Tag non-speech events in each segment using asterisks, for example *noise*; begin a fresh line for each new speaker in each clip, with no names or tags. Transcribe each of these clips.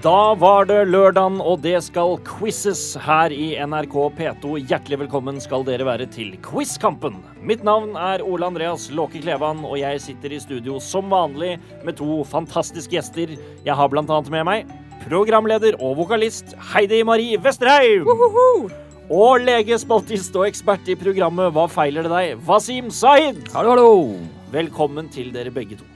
Da var det lørdagen, og det skal quizzes her i NRK P2. Hjertelig velkommen skal dere være til Quizkampen. Mitt navn er Ole Andreas Låke Klevan, og jeg sitter i studio som vanlig med to fantastiske gjester. Jeg har blant annet med meg programleder og vokalist Heidi Marie Vesterheim. Og lege, spaltist og ekspert i programmet Hva feiler det deg? Wasim Zaid.
Hallo, hallo!
Velkommen til dere begge to.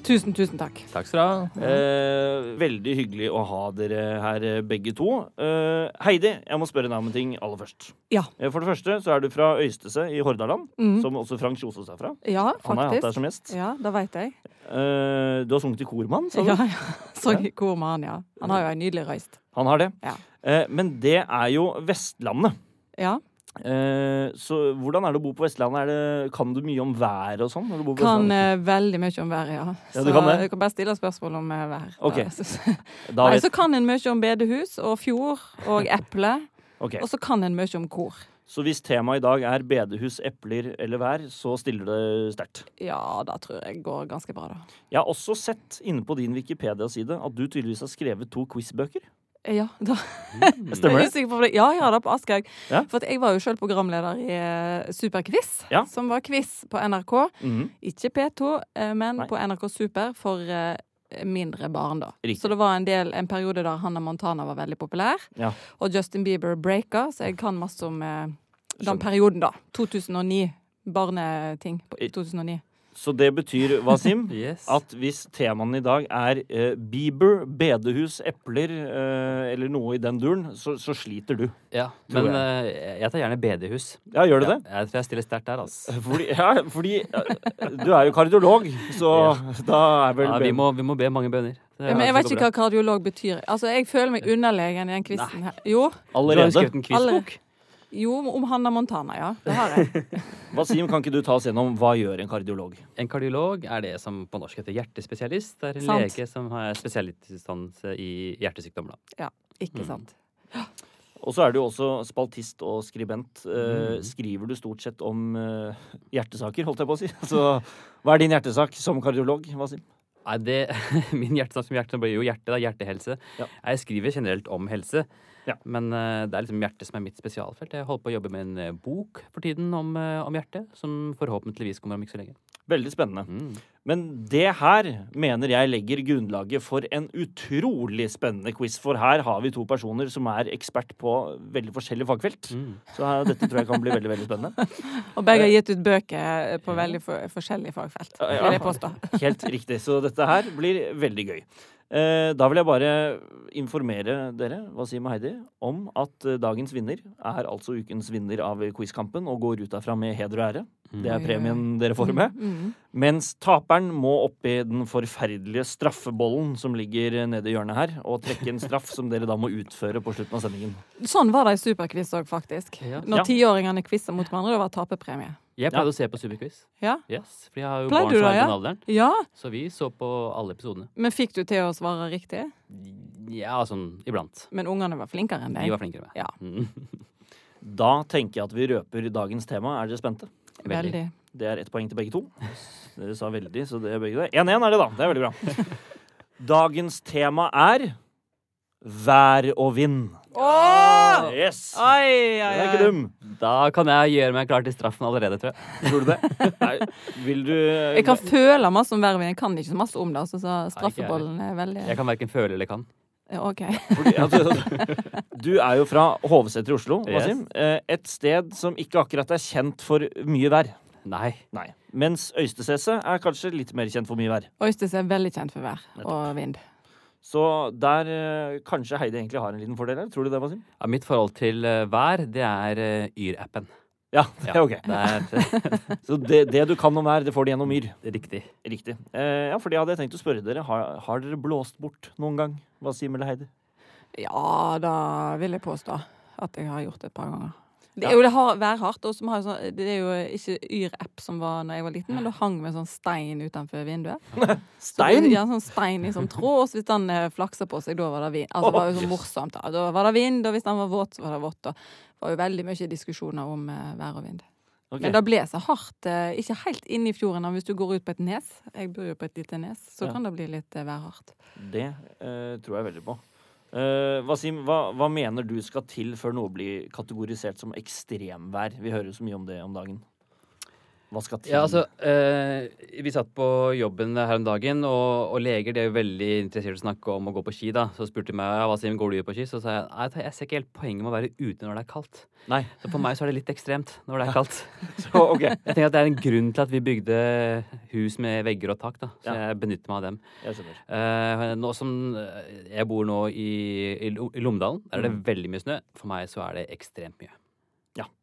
Tusen, tusen takk.
Takk skal du ha.
Eh, veldig hyggelig å ha dere her eh, begge to. Eh, Heidi, jeg må spørre deg om en ting aller først.
Ja.
Eh, for det første så er du fra Øystese i Hordaland,
Mm.
som også Frank Kjosås er fra.
Ja,
Han har jeg hatt deg
faktisk.
som gjest.
Ja, det veit jeg.
Eh, du har sunget i kormann, sa du?
Ja, ja. *laughs* Så hvor med han, ja. Han har jo en nydelig røyst.
Han har det.
Ja.
Eh, men det er jo Vestlandet.
Ja.
Eh, så hvordan er det å bo på Vestlandet? Er det, kan du mye om været og sånn? når du bor på
Kan
Vestlandet?
eh, veldig mye om været, ja.
Ja, du kan det.
du kan bare stille spørsmål om eh, vær.
Ok.
Da, så-
Da
eh, Nei,
vet-
så kan en mye om bedehus og fjord
*laughs*
og eple.
ok.
Og så kan en mye om kor.
Så hvis temaet i dag er bedehus, epler eller vær, så stiller det sterkt.
Ja, da tror jeg går ganske bra, da.
Jeg har også sett inne på din Wikipedia-side at du tydeligvis har skrevet to quizbøker.
Eh, Ja, da
Mm.
Stemmer
Jeg er
det?
usikker på det. Ja, ja, da på Aschehoug.
Ja.
For at jeg var jo sjøl programleder i eh, Superquiz,
Ja.
som var quiz på NRK.
Mhm.
Ikke P2, eh, men
Nei.
på NRK Super for eh, mindre barn, da.
Riktig.
Så det var en del, en periode der Hannah Montana var veldig populær,
Ja.
og Justin Bieber breaka, så jeg kan masse om eh, den
Skjønner.
perioden, da. 2009. Barneting på
I-
2009.
Så det betyr, Wasim,
*laughs* Yes.
at hvis temaene i dag er eh, Bieber, bedehus, epler eh, eller noe i den duren, så, så sliter du.
ja.
tror
Men eh, jeg tar gjerne bedehus.
Ja, gjør du det?
Ja, jeg tror jeg stiller sterkt der, altså.
Fordi, ja, fordi eh, du er jo kardiolog, så
*laughs*
da er vel
Ja, vi, må, vi må be mange bønner.
Ja,
Det
men jeg
er
vet
så
ikke hva kardiolog betyr. Altså, Jeg føler meg underlegen i den quizen her. Jo,
bedehus
bra. Du har jo
allerede.
skrevet en quizbok.
jo, om Hannah Montana, ja. Det har
*laughs*
jeg.
Wasim, kan ikke du ta oss gjennom hva gjør en kardiolog?
En kardiolog er det som på norsk heter hjertespesialist. Det er en
Sant.
lege som har spesialistutdannelse i hjertesykdommer. da.
Mm.
Ikke sant.
Og så er du jo også spaltist og skribent. Eh, Skriver du stort sett om eh, hjertesaker, holdt jeg på å si? *laughs* Så hva er din hjertesak som kardiolog? Wasim?
Nei, det, *laughs* min hjertesak som hjerte blir jo hjerte, da. Hjertehelse.
Ja.
Jeg skriver generelt om helse.
Ja.
Men eh, det er liksom hjertet som er mitt spesialfelt. Jeg holder på å jobbe med en eh, bok for tiden om, eh, om hjertet, som forhåpentligvis kommer om ikke så lenge.
Veldig spennende.
Mm.
Men det her mener jeg legger grunnlaget for en utrolig spennende quiz. For her har vi to personer som er ekspert på veldig forskjellige fagfelt.
Mm.
Så her, dette tror jeg kan bli veldig veldig spennende.
Og begge har gitt ut bøker eh, på veldig for forskjellige fagfelt,
Eh, Ja.
vil jeg påstå.
Helt riktig. Så dette her blir veldig gøy. Eh, Da vil jeg bare informere dere hva sier med Heidi, om at eh, dagens vinner er altså ukens vinner av quizkampen og går ut derfra med heder og ære. Det er
Oi, oi, oi.
premien dere får med.
Mm.
Mens taperen må oppi den forferdelige straffebollen som ligger nede i hjørnet her, og trekke en straff som dere da må utføre på slutten av sendingen.
Sånn var det i Superquiz òg, faktisk.
Ja.
Ja.
Når tiåringene quiza mot hverandre, det var taperpremie.
Jeg pleide å se på Superquiz.
Ja?
Yes, for jeg har jo
Pleide
barn
du
som
da,
er i
ja?
den alderen.
ja,
Så vi så på alle episodene.
men fikk du til å svare riktig?
Ja, sånn iblant.
Men ungene var flinkere enn
De
deg.
var flinkere med. *laughs*
Ja.
Mm.
Da tenker jeg at vi røper dagens tema. Er dere spente?
Veldig.
Veldig.
Det er ett poeng til begge to. Dere sa veldig, så det er begge der. 1-1 er det, da. Det er veldig bra. *laughs* Dagens tema er vær og vind.
Åh!
Yes! Den
Oi, oi,
er ikke
oi.
dum.
Da kan jeg gjøre meg klar til straffen allerede, tror jeg.
Tror du det? *laughs* Nei, vil du
Jeg kan føle masse om vervet, jeg kan ikke så masse om det. altså, Så
ikke jeg
straffebollen er veldig
Jeg kan verken føle eller kan.
Ja, *laughs* OK.
Fordi, altså, du er jo fra Hovseter i Oslo,
Yes.
Wasim. Eh, Et sted som ikke akkurat er kjent for mye vær.
Nei.
Nei. Mens Øystesese er kanskje litt mer kjent for mye vær.
Øystese er veldig kjent for vær og vind.
Så der eh, kanskje Heidi egentlig har en liten fordel her. Tror du det, Wasim?
Ja, mitt forhold til eh, vær, det er eh, Yr-appen.
Ja, det er ok.
Det er
Så det, det du kan om vær, det får du gjennom myr.
*laughs*
riktig.
Riktig. Eh, ja, for det hadde jeg tenkt å spørre dere. Har, har dere blåst bort noen gang? Wasim eller Heidi?
Ja, da vil jeg påstå at jeg har gjort det et par ganger. Det
Ja.
er jo det har, værhardt. Og så har jeg sånn, det er jo ikke Yr-app som var når jeg var liten, men da hang vi en sånn stein utenfor *laughs* vinduet. Så det-
Stein?
Ja, en sånn stein i sånn tråd. Og så hvis den eh, flaksa på seg, da var det vind. Altså, det var jo så morsomt. Da. da var det vind, og hvis den var våt, så var det vått. Og det var jo veldig mye diskusjoner om eh, vær og vind.
Ok.
Men det ble så hardt, eh, ikke helt inn i fjorden. men Hvis du går ut på et nes, jeg bor jo på et lite nes, så
Ja.
kan det bli litt eh, værhardt.
Det eh, tror jeg veldig på. Eh, Wasim, hva, hva mener du skal til før noe blir kategorisert som ekstremvær? Vi hører jo så mye om det om dagen. Hva skal til?
Ja, altså, eh, vi satt på jobben her om dagen, og, og leger de er jo veldig interessert i å snakke om å gå på ski. da. Så spurte de meg ja, hva sier de, går du på ski, så sa jeg nei, jeg ser ikke helt poenget med å være ute når det er kaldt.
Nei. *laughs*
Så for meg så er det litt ekstremt når det er kaldt.
Så, ok.
*laughs* Jeg tenker at Det er en grunn til at vi bygde hus med vegger og tak, da. så
Ja.
jeg benytter meg av dem.
Jeg skjønner.
Eh, nå som eh, jeg bor nå i, i Lo- i Lommedalen, der er det veldig mye snø. For meg så er det ekstremt mye.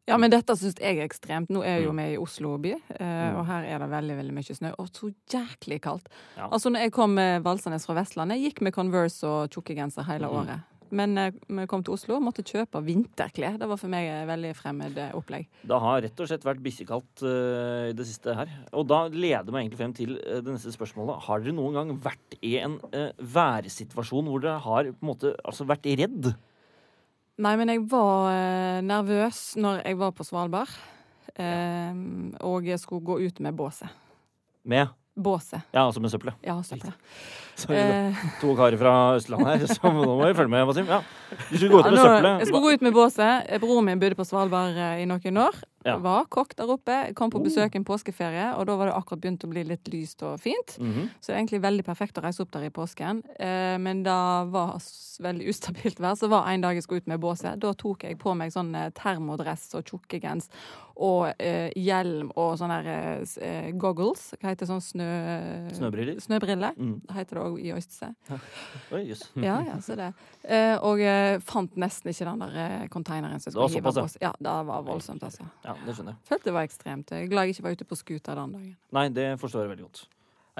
Ja, men dette syns jeg er ekstremt. Nå er jo
Mm.
vi i Oslo by, eh, og her er det veldig veldig mye snø. Og så jæklig kaldt.
Ja.
Altså, når jeg kom eh, valsende fra Vestlandet, gikk med Converse og tjukke genser hele året. Men eh, når jeg kom til Oslo, måtte jeg kjøpe vinterklær. Det var for meg eh, veldig fremmed eh, opplegg.
Det har rett og slett vært bikkjekaldt eh, i det siste her. Og da leder meg egentlig frem til eh, det neste spørsmålet. Har dere noen gang vært i en eh, værsituasjon hvor dere har på en måte altså vært redd?
Nei, men jeg var eh, nervøs når jeg var på Svalbard. Eh, og jeg skulle gå ut med båset.
Med
Båset.
Ja, altså med søppelet.
Ja, søpla.
Så
Eh,
To karer fra Østlandet her, så nå må vi følge med, Wasim. Ja. Du skulle gå ut
ja,
med
nå,
søppelet.
jeg skulle gå ut med båset. Broren min bodde på Svalbard eh, i noen år.
Ja. Oh.
Var kokk der oppe. Kom på besøk en påskeferie, og da var det akkurat begynt å bli litt lyst og fint.
Mhm.
Så det er egentlig veldig perfekt å reise opp der i påsken. Eh, men det var s- veldig ustabilt vær, så var en dag jeg skulle ut med båset. Da tok jeg på meg sånn eh, termodress og tjukkegens og eh, hjelm og sånne her, eh, s- eh, goggles. Hva heter sånn snø...
Snøbriller.
Snøbriller.
Mm.
Det heter det òg i Øystese.
Oi, jøss.
Ja, ja, så det. Eh, og eh, fant nesten ikke den der eh, konteineren som
Det var
skulle hive
såpass, ja.
oss. Ja, det var voldsomt, altså.
Ja, det skjønner jeg.
Følte det var ekstremt. Jeg er glad jeg ikke var ute på scooter den dagen.
Nei, det forstår jeg veldig godt.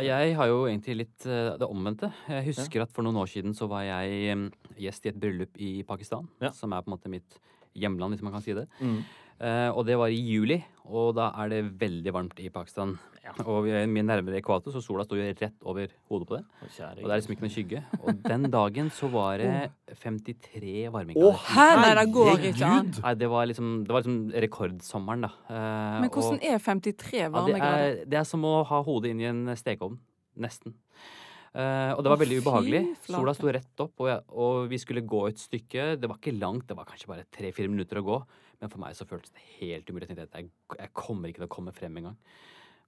Ja, Jeg har jo egentlig litt eh, det omvendte. Jeg husker at for noen år siden så var jeg em, gjest i et bryllup i Pakistan,
Ja.
som er på en måte mitt hjemland, hvis man kan si det.
Mm.
Eh, og det var i juli, og da er det veldig varmt i Pakistan. Og vi er mye nærmere ekvator, så sola står jo rett over hodet på det.
Å, kjære
Og det er liksom ikke noen skygge. Og den dagen så var det 53
Gud. Å,
varmegrader.
Hæ? Nei, det går ikke an.
herregud!
Nei, det var liksom, det var liksom rekordsommeren, da. Eh,
Men hvordan
og-
er 53
ja, det,
varmegrader?
er, det er som å ha hodet inn i en stekeovn. Nesten. Eh, og det var
Å,
veldig
fy
ubehagelig. Sola
flate.
sto rett opp, og, jeg, og vi skulle gå et stykke. Det var ikke langt, det var kanskje bare tre-fire minutter å gå. Men for meg så føltes det helt umulig. Jeg tenkte at jeg, jeg kommer ikke til å komme frem engang.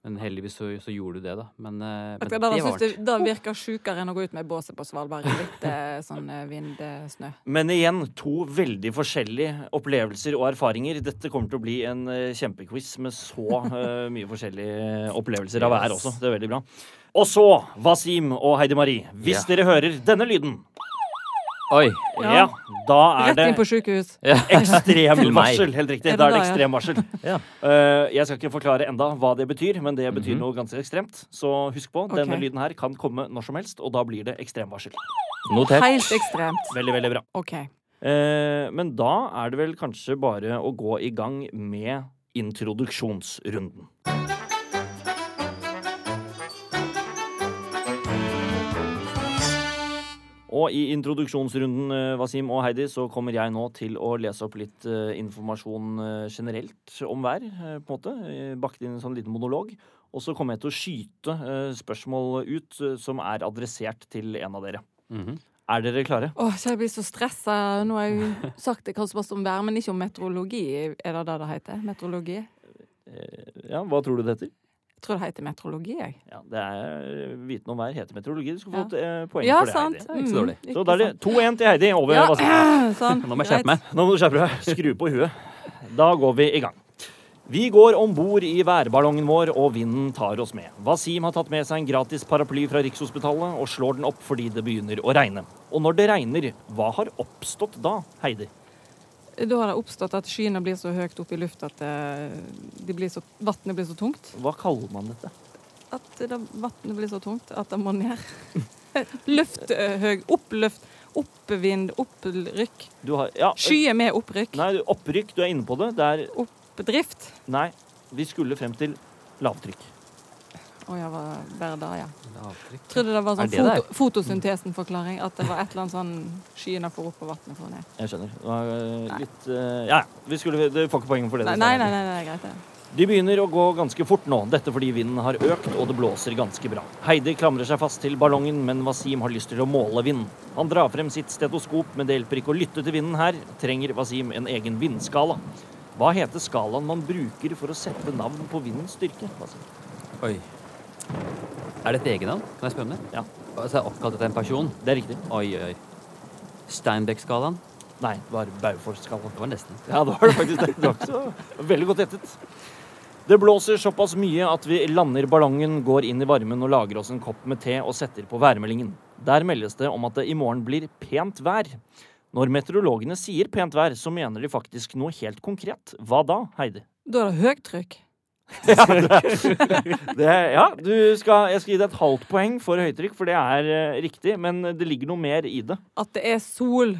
Men heldigvis så, så gjorde du det, da. Men, eh, men
Det,
det var
synes
varmt.
det, det virker sjukere enn å gå ut med båset på Svalbard i litt eh, sånn eh,
*laughs*
vindsnø.
Men igjen, to veldig forskjellige opplevelser og erfaringer. Dette kommer til å bli en eh, kjempequiz med så *laughs* eh, mye forskjellige opplevelser av hver
Yes.
også. Det er veldig bra. Og så, Wasim og Heidi Marie, hvis
Ja.
dere hører denne lyden,
Oi!
ja, da er
Rett
det
inn på sjukehus.
Til meg.
Ekstremvarsel, helt riktig.
Er det
Da er det
da, ja?
ekstremvarsel.
*laughs* Ja.
Eh, jeg skal ikke forklare enda hva det betyr, men det
Mhm.
betyr noe ganske ekstremt. Så husk på, denne
Ok.
lyden her kan komme når som helst, og da blir det ekstremvarsel.
Helt ekstremt.
Veldig, veldig bra.
OK.
Eh, men da er det vel kanskje bare å gå i gang med introduksjonsrunden. Og i introduksjonsrunden, eh, Wasim og Heidi, så kommer jeg nå til å lese opp litt eh, informasjon eh, generelt om hver, eh, på en måte. eh, Bakt inn i en sånn liten monolog. Og så kommer jeg til å skyte eh, spørsmål ut eh, som er adressert til en av dere.
Mhm.
Er dere klare?
Åh, så jeg blir så stressa. Nå har jeg
*laughs*
jo sagt det kanskje bare om vær, men ikke om meteorologi. Er det det det heter? Meteorologi? Jeg
Ja, hva tror du det heter?
tror det heter meteorologi, jeg.
Ja, det er viten om hver hete meteorologi. Du skal få
Ja.
et eh, poeng
ja,
for det,
sant. Mm.
Heidi.
er ikke så dårlig.
Så da er det 2-1 til Heidi over
Ja.
Vazelina.
Sånn,
*clears throat* Nå må jeg
greit.
skjerpe meg.
Nå må du skjerpe deg. Skru på huet. Da går vi i gang. Vi går om bord i værballongen vår, og vinden tar oss med. Wasim har tatt med seg en gratis paraply fra Rikshospitalet og slår den opp fordi det begynner å regne. Og når det regner, hva har oppstått da, Heidi?
Da har det oppstått at skyene blir så høyt opp i luft at eh, de blir så, vannet blir så tungt.
Hva kaller man dette?
At det, vannet blir så tungt at det må ned. *laughs* Løft eh, høy, oppløft, oppvind, opprykk.
Du har Ja.
Skyer med opprykk.
Nei, du- opprykk. Du er inne på det. Det er
Oppdrift.
Nei, vi skulle frem til lavtrykk.
Å ja, var bare det, ja.
Lavtrykk.
Trodde det var
Er
sånn
det
foto, fotosyntesen-forklaring. At det var et eller annet sånn skyene for opp og vannet for ned.
Jeg skjønner. Det var eh, litt eh, Ja, ja. Vi skulle, du får ikke poeng for det.
Nei,
dessverre.
nei, nei, nei, det er greit, det.
De begynner å gå ganske fort nå, dette fordi vinden har økt og det blåser ganske bra. Heidi klamrer seg fast til ballongen, men Wasim har lyst til å måle vind. Han drar frem sitt stetoskop, men det hjelper ikke å lytte til vinden her. Trenger Wasim en egen vindskala? Hva heter skalaen man bruker for å sette navn på vindens styrke? Wasim?
Oi. Er det et egennavn? Kan jeg spørre om det?
Ja,
Altså, er det oppkalt etter en person?
det er riktig.
Oi, oi. Steinbeck-skalaen?
Nei, det var Bauforskalaen.
Det var nesten.
Ja, det var det faktisk. Det var ikke så veldig godt gjettet. Det blåser såpass mye at vi lander ballongen, går inn i varmen og lager oss en kopp med te og setter på værmeldingen. Der meldes det om at det i morgen blir pent vær. Når meteorologene sier pent vær, så mener de faktisk noe helt konkret. Hva da, Heidi?
Da er det høytrykk.
Det, ja, du skal, jeg skal gi deg et halvt poeng for høytrykk, for det er eh, riktig. Men det ligger noe mer i det.
At det er sol.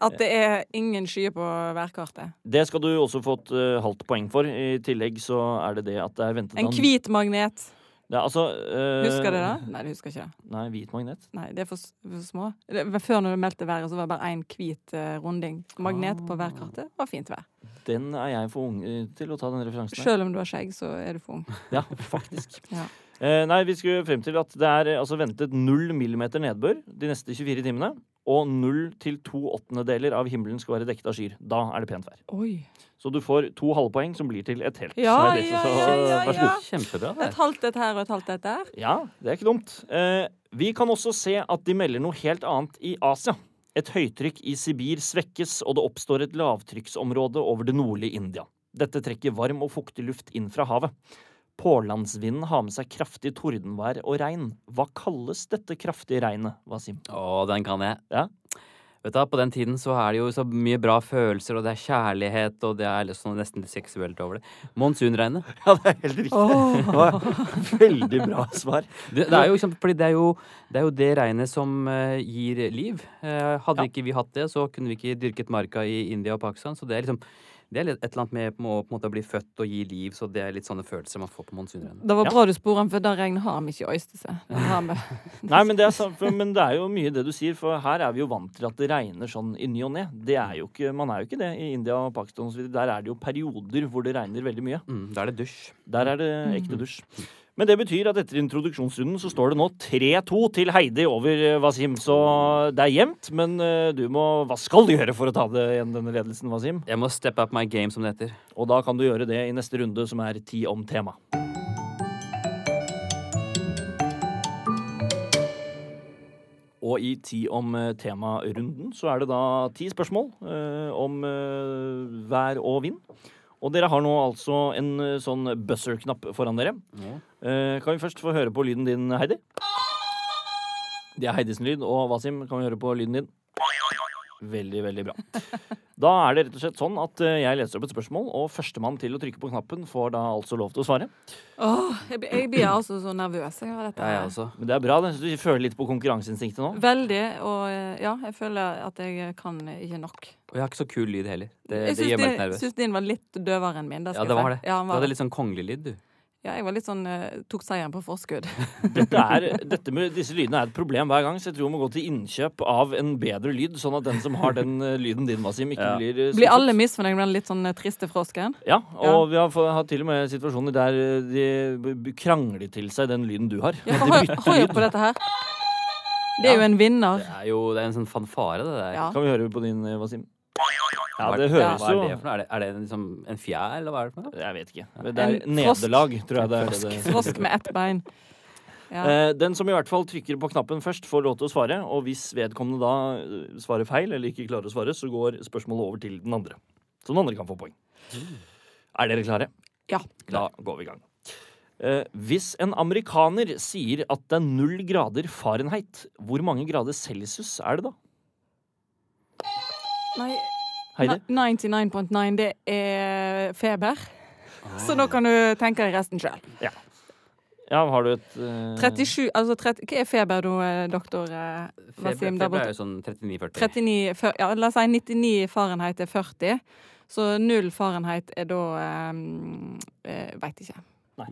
At det er ingen skyer på værkartet.
Det skal du også få et eh, halvt poeng for. I tillegg så er det det at det er ventet
En hvit magnet.
Det er altså eh,
Husker dere det? Nei, du husker ikke det.
Nei, hvit magnet.
Nei, det er for, s- for små. Det, var før når du meldte været, så var det bare én hvit eh, runding. Magnet på værkartet var fint vær.
Den er jeg for ung eh, til å ta den referansen. her.
Selv om du har skjegg, så er du for *laughs* ung.
Ja, faktisk.
Ja.
Eh, nei, vi skulle frem til at det er eh, altså ventet null millimeter nedbør de neste 24 timene. Og null til to åttendedeler av himmelen skal være dekket av skyer. Da er det pent vær.
Oi.
Så du får to halvpoeng som blir til et helt.
Ja,
Heidi,
ja,
så-
ja, ja,
vær så
ja.
god.
Kjempebra.
Et
Det.
halvt et her og et halvt et der.
Ja, det er ikke dumt. Eh, vi kan også se at de melder noe helt annet i Asia. Et høytrykk i Sibir svekkes, og det oppstår et lavtrykksområde over det nordlige India. Dette trekker varm og fuktig luft inn fra havet. Pålandsvinden har med seg kraftig tordenvær og regn. Hva kalles dette kraftige regnet, Wasim?
Å, den kan jeg.
Ja.
Vet du, hva, På den tiden så er det jo så mye bra følelser, og det er kjærlighet, og det er liksom nesten litt seksuelt over det. Monsunregnet.
Ja, det er helt riktig.
Åh.
Veldig bra svar.
Det, det er jo eksempel, fordi det er jo det, er jo det regnet som eh, gir liv. Eh, hadde
Ja.
ikke vi hatt det, så kunne vi ikke dyrket marka i India og Pakistan. Så det er liksom det er litt- et eller annet med på må- på en måte å bli født og gi liv, så det er litt sånne følelser man får på monsunregnet.
Det var
Ja.
bra du sporer den, for det regnet har vi ikke i Øystese. Det har vi.
Nei, men det, er, sant, for- men det er jo mye det du sier, for her er vi jo vant til at det regner sånn i ny og ne. Det er jo ikke, man er jo ikke det i India og Pakistan osv. Der er det jo perioder hvor det regner veldig mye.
Mm, da er det dusj.
Der er det ekte dusj. Men det betyr at etter introduksjonsrunden så står det nå 3-2 til Heidi over eh, Wasim. Så det er jevnt, men eh, du må Hva skal du gjøre for å ta det igjen denne ledelsen, Wasim?
Jeg må step up my game, som det heter.
Og da kan du gjøre det i neste runde, som er ti om tema. Og i ti om eh, tema-runden så er det da ti spørsmål eh, om eh, vær og vind. Og dere har nå altså en eh, sånn buzzer-knapp foran dere. Eh, kan vi først få høre på lyden din, Heidi? Det er Heidis lyd. Og Wasim, kan vi høre på lyden din? Veldig, veldig bra. Da er det rett og slett sånn at eh, jeg leser opp et spørsmål, og førstemann til å trykke på knappen får da altså lov til å svare.
*laughs* Åh, jeg, blir- jeg blir altså så nervøs jeg av dette.
Jeg
her.
også.
Men det er bra. det. Du føler litt på konkurranseinstinktet nå.
Veldig. Og eh, ja, jeg føler at jeg kan ikke nok.
Og jeg har ikke så kul lyd heller. Eh, Det,
Jeg
det gjør meg litt
syns
nervøs.
din, din var litt døvere enn min. Det
Ja,
skal
det
jeg
var
si.
det.
Ja, han
Du
var
hadde
det.
litt sånn kongelig lyd, du.
ja, jeg var litt sånn eh, Tok seieren på
*laughs*
forskudd.
Dette, er, dette med disse lydene er et problem hver gang, så jeg tror vi må gå til innkjøp av en bedre lyd, sånn at den som har den eh, lyden din, Wasim, ikke
Ja.
blir eh,
Blir
skuffet.
alle misfornøyd med den litt sånn eh, triste frosken?
Ja, og vi har fått- hatt til og med situasjoner der eh, de b- b- krangler til seg den lyden du har. *laughs*
Ja, for hør, hør på dette her. Det er jo en vinner.
Det er jo det er en sånn fanfare, det der.
Ja.
Kan vi høre på din, eh, Wasim? Ja,
Hva er-
det
hva
høres
Er
jo
det, for noe? er det, er det en liksom en fjær, eller hva er det for noe?
Jeg vet ikke. Det er
En frosk.
nederlag, tror jeg det er. det det-
Frosk med ett bein. Ja.
Eh, Den som i hvert fall trykker på knappen først, får lov til å svare. Og hvis vedkommende da eh, svarer feil, eller ikke klarer å svare, så går spørsmålet over til den andre. Så den andre kan få poeng. Er dere klare?
ja.
Da går vi i gang. Eh, Hvis en amerikaner sier at det er null grader Fahrenheit, hvor mange grader celsius er det da?
Nei,
Heidi?
ne- 99.9, det er feber.
Ah.
Så nå kan du tenke deg resten sjøl.
Ja, har du et eh,
37, altså 30, Hva er feber, du, eh, doktor eh,
Feber,
Wasim? der
feber
borte?
er jo sånn 39-40.
39, fyr- ja, la oss si 99 Fahrenheit er 40. Så null Fahrenheit er da eh, Veit ikke.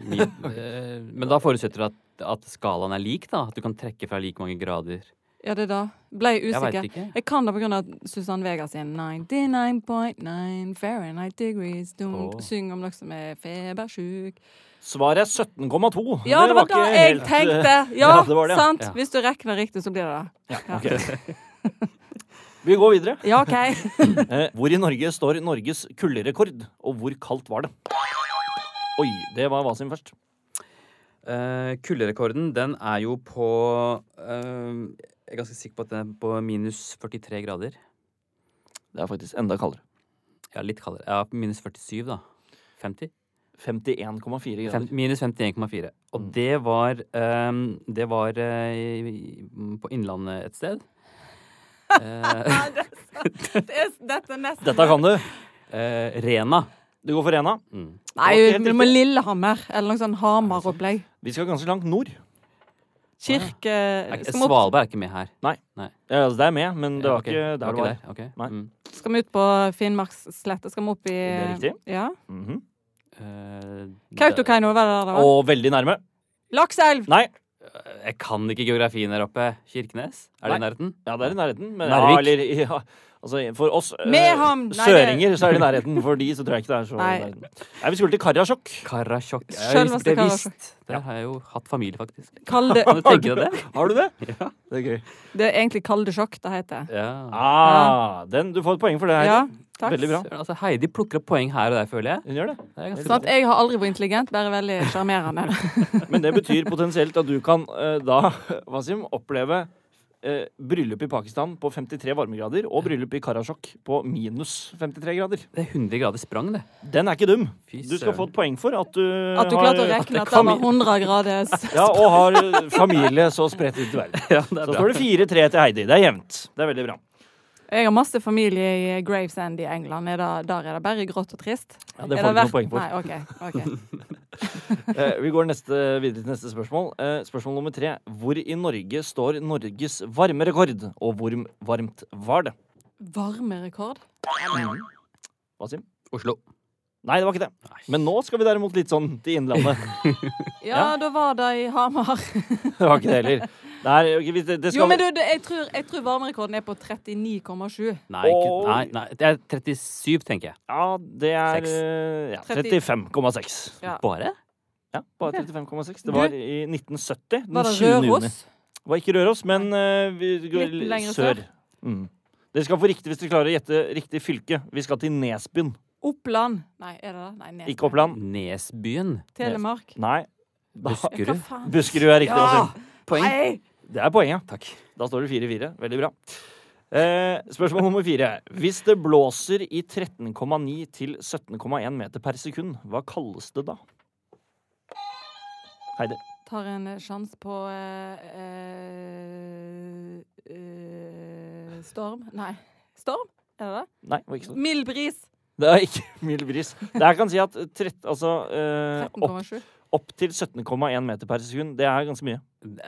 Ni- eh, Men da forutsetter det at, at skalaen er lik, da? At du kan trekke fra like mange grader
Ja, det da. Ble jeg
Jeg veit
usikker.
ikke.
Jeg kan det på grunn av Susann Vega sin 99.9 Fahrenheit degrees dunk.
Åh.
Syng om dere som er febersjuk.
Svaret er 17,2.
Ja, det var da
ikke
jeg
helt, eh,
tenkte! *laughs* Ja,
ja, det var det, ja.
sant?
Ja.
Hvis du rekker det riktig, så blir det det.
*laughs* Vi går videre.
Ja, *laughs* OK.
Eh, hvor i Norge står Norges kulderekord, og hvor kaldt var det? Oi, det var Wasim først.
Eh, kulderekorden, den er jo på eh, Jeg er ganske sikker på at den er på minus 43 grader.
Det er faktisk enda kaldere.
Ja, litt kaldere. Ja, minus 47, da. 50?
51,4
Fem,
grader.
minus 51,4. Og
Mm.
det var eh, Det var eh, i- på Innlandet et sted. Eh,
Det er, dette er nesten
Dette kan du.
eh, Rena.
Du går for Rena.
Mm.
Nei,
Det var ikke helt
du må
riktig.
Lillehammer. Eller noe sånn Hamar-opplegg.
Vi skal ganske langt nord.
Kirke
Er ikke-
skal, vi opp,
Eh, Svalbard er ikke med her.
Ja, altså, det er med, men det var
Ok,
ikke der det var.
ikke der. ok.
Nei.
Mm.
skal vi ut på Finnmarksslettet? Skal vi opp i
Det er riktig.
Ja.
Mhm.
Eh,
Kautokeino, hva er det der? det var?
Og veldig nærme.
Lakselv!
Nei.
det- Jeg kan ikke geografien her oppe. Kirkenes? Er det i
Nei.
nærheten?
Ja, det er i nærheten. Men,
Narvik.
Ja, eller, ja, altså, for oss eh,
Mehamn. Nei, det-
søringer så er det i nærheten. For de så tror jeg ikke det er så i
Nei.
nærheten. Nei, vi skulle til Karasjok.
Karasjok. Ja, jeg
Selveste
visste- det
Karasjok.
visst. Der har jeg jo hatt familie, *laughs* faktisk.
*laughs*
Kalde-
Kan du tenke deg det?
Har du det?
Ja.
Det er gøy.
Det er egentlig Kaldesjokk det heter.
ja.
Ah, den, du får et poeng for det her.
Ja, takk.
Veldig bra.
Søren, Altså, Heidi plukker opp poeng her og der, føler jeg.
Hun gjør det.
Det er ganske
Sånn at jeg har aldri vært intelligent, bare veldig
*laughs*
sjarmerende.
Men det betyr potensielt at du kan eh, da, *laughs* Wasim, oppleve eh, bryllup i Pakistan på 53 varmegrader og bryllup i Karasjok på minus 53 grader.
Det er 100 grader sprang, det.
Den er ikke dum.
Fy
Du skal
søren.
få et poeng for at eh, du
At du klarte å regne at det var 100 graders
Ja, og har eh, familie så spredt ut i verden.
Ja, det er
Så
bra.
står det 4-3 til Heidi. Det er jevnt. Det er veldig bra.
Jeg har masse familie i Gravesend i England. Er det, der er det bare grått og trist.
Ja, det
Er
får du noen
verdt-
poeng for.
Nei, ok,
*laughs*
ok.
Eh, vi går neste, videre til neste spørsmål. Eh, spørsmål nummer tre. Hvor i Norge står Norges varmerekord, og hvor varmt var det?
Varmerekord?
Wasim?
Oslo.
Nei, det var ikke det. Men nå skal vi derimot litt sånn til Innlandet.
*laughs* Ja, da var det i Hamar.
Det var ikke det heller. Nei, ok, vi- det, det skal
Jo, men du, det, jeg tror, jeg tror varmerekorden er på 39,7.
Nei, ikke,
Oi.
nei, nei, det er 37, tenker jeg.
Ja, det er
Seks.
eh, ja,
Tretti.
35,6.
Ja.
Bare?
Ja, bare 35,6. Det var i 1970. Den
Var det
7. juni.
Røros?
Det var ikke Røros, men eh, vi går
Litt lenger
sør. Mm. Dere skal få riktig hvis dere klarer å gjette riktig fylke. Vi skal til Nesbyen,
Oppland? Nei, er det det? Nei, Nesbø.
ikke Oppland.
Nesbyen.
Telemark?
Nei. Da-
Ja, hva
Buskerud.
faen?
Buskerud er riktig.
Ja!
Wasim.
Poeng.
Nei!
Det er poenget.
Takk.
Da står det 4-4. Veldig bra. Eh, spørsmål nummer fire. Hvis det blåser i 13,9 til 17,1 meter per sekund, hva kalles det da? Heidi.
Tar en eh, sjanse på eh, eh, eh, Storm? Nei. Storm? Er det det?
Nei, det var ikke sånn.
Mild bris.
Det er ikke *laughs* mild bris. Der kan si at 13, altså, eh, opp,
13,7.
opp til 17,1 meter per sekund, det er ganske mye.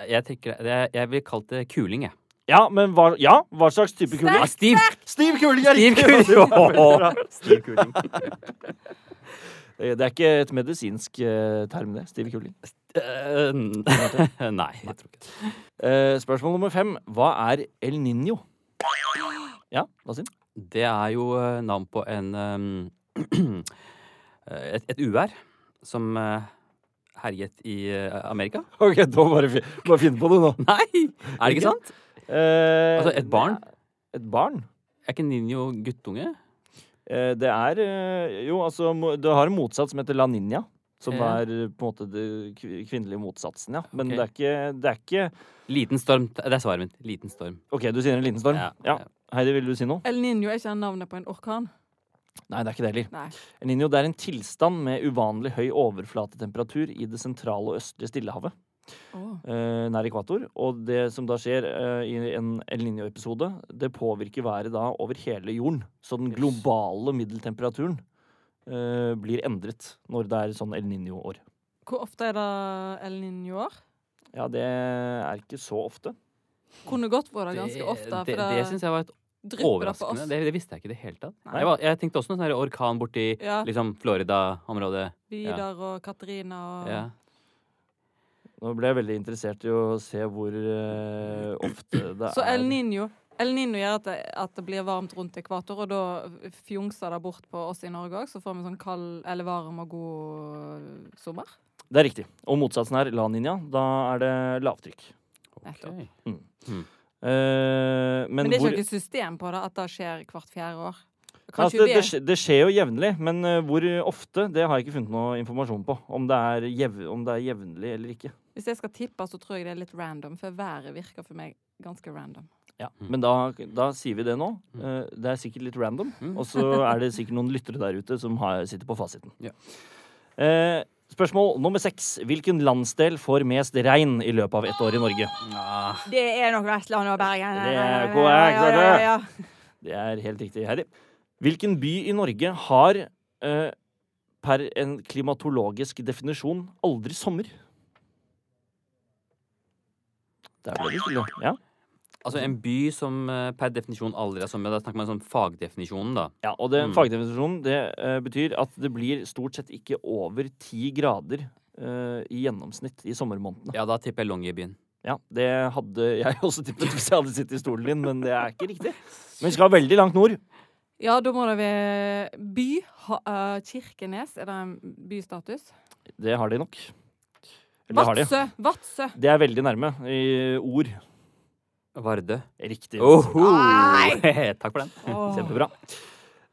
Jeg, tenker, det er- jeg ville kalt det kuling, jeg.
Ja, men hva, ja, hva slags type kuling?
Ah, Stiv!
Stiv kuling er
Stiv
riktig! *laughs*
kuling.
Det var
*laughs*
veldig bra.
Stiv kuling.
Eh, Det er ikke et medisinsk eh, term, det. Stiv kuling.
Eh, nei, jeg tror ikke det.
Eh, spørsmål nummer fem. Hva er El *gasps* Niño? Ja, hva sin?
Det er jo eh, navn på en ehm, *clears throat* eh, et, et uvær som eh, herjet i eh, Amerika. *laughs*
Ok, da bare, fi- bare finn på det nå.
Nei! Er det ikke sant?
Eh,
Altså, et barn?
Et barn?
Er ikke Ninjo guttunge?
Eh, det er eh, Jo, altså, mo- det har en motsats som heter La Niña. Som
Ja.
er eh, på en måte den kvi- kvinnelige motsatsen, ja. Men
Ok.
det, er ikke, det er ikke
Liten storm. Det er svaret mitt. Liten storm.
OK, du sier en liten storm? Ja. Heidi, vil du si noe?
El Niño er ikke navnet på en orkan?
Nei, det er ikke det heller.
Nei.
El Niño det er en tilstand med uvanlig høy overflatetemperatur i det sentrale og østlige Stillehavet.
Åh.
eh, nær ekvator. Og det som da skjer eh, i en El Niño-episode, det påvirker været da over hele jorden. Så den globale middeltemperaturen eh, blir endret når det er sånn El Niño-år.
Hvor ofte er det El Niño-år?
Ja, det er ikke så ofte.
Kunne godt vært det ganske ofte. For
Det, det, det syns jeg var et
drypper det på
overraskende.
oss.
Det, det visste jeg ikke i det hele tatt.
Nei.
Jeg, var, jeg tenkte også noe sånn her orkan borti
Ja,
liksom Florida-området.
Vidar og Katarina og
Ja.
Nå ble jeg veldig interessert i å se hvor eh, ofte *clears throat* det
Så
er
El Niño El Niño gjør at det, at det blir varmt rundt ekvator, og da fjongser det bort på oss i Norge òg. Så får vi sånn kald eller varm og god eh, sommer.
Det er riktig. Og motsatsen er La Ninja. Da er det lavtrykk.
Ok.
Eh, men,
Men, det er
hvor
ikke noe system på det, at det skjer hvert fjerde år.
altså,
Kanskje
det, det, skjer, det skjer jo jevnlig, men eh, hvor ofte, det har jeg ikke funnet noe informasjon på. Om det er, jev, om det er jevnlig eller ikke.
vi, Hvis jeg skal tippe, så tror jeg det er litt random, for været virker for meg ganske random.
Ja.
Mm.
Men da, da sier vi det nå. Eh, det er sikkert litt random.
Mm.
Og så er det sikkert noen lyttere der ute som har, sitter på fasiten.
Ja.
Eh, spørsmål nummer seks. Hvilken landsdel får mest regn i løpet av ett år i Norge?
Ah,
Det er nok Vestlandet og Bergen.
Det er
Ja,
korrekt,
ja, ja, ja, ja.
Det er helt riktig, Harry. Hvilken by i Norge har eh, per en klimatologisk definisjon aldri sommer? Der ble det stille. Ja.
altså en by som eh, per definisjon aldri er sommer. Da snakker man om sånn fagdefinisjonen, da.
ja og den
Mm.
fagdefinisjonen det eh, betyr at det blir stort sett ikke over ti grader eh, i gjennomsnitt i sommermånedene.
Ja, da tipper jeg Longyearbyen.
Ja, det hadde *laughs* jeg også tippet hvis jeg hadde sittet i stolen din, men det er ikke riktig. Men vi skal veldig langt nord.
Ja, da må det være by. Ha, eh, Kirkenes, er det en bystatus?
Det har de nok. Eller har de.
Vadsø! Vadsø!
*laughs* Det er veldig nærme i ord.
Vardø.
Riktig.
Oho!
Nei!
*laughs* Takk for den.
Åh.
Kjempebra.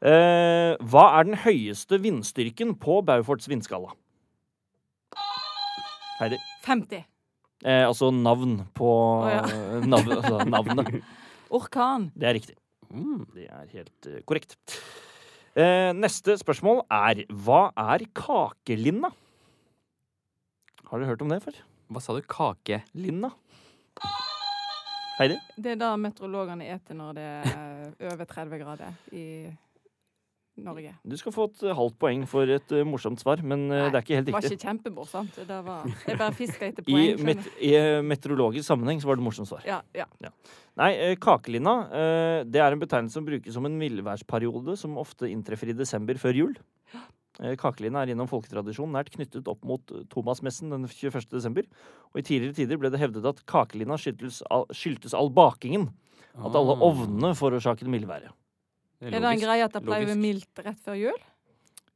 Eh, hva er den høyeste vindstyrken på Bauforts vindskala? Heidi.
50.
Eh, altså navn på
Å, ja.
*laughs* navn, altså Navnet.
Orkan.
Det er riktig.
Mm.
Det er helt eh, korrekt. Eh, neste spørsmål er hva er kakelinna? Har dere hørt om det før?
Hva sa du? Kake?
Linna. Heidi?
Det er det meteorologene eter når det er over 30 grader i Norge.
Du skal få et eh, halvt poeng for et eh, morsomt svar, men eh,
Nei,
det er ikke helt
Det var
riktig.
ikke kjempemorsomt. Det var, jeg bare fiska etter
I,
poeng. skjønner
met
du.
I eh, meteorologisk sammenheng så var det morsomt svar.
Ja, ja.
Nei, eh, kakelinna eh, det er en betegnelse som brukes som en mildværsperiode som ofte inntreffer i desember før jul. Eh, Kakelinna er gjennom folketradisjon nært knyttet opp mot eh, Thomasmessen den 21. desember. Og i tidligere tider ble det hevdet at kakelinna skyldtes all, skyldtes all bakingen. At alle
Ah,
ovnene forårsaket mildværet.
det
Er det en
logisk.
greie at det pleier å være
Logisk.
mildt rett før jul?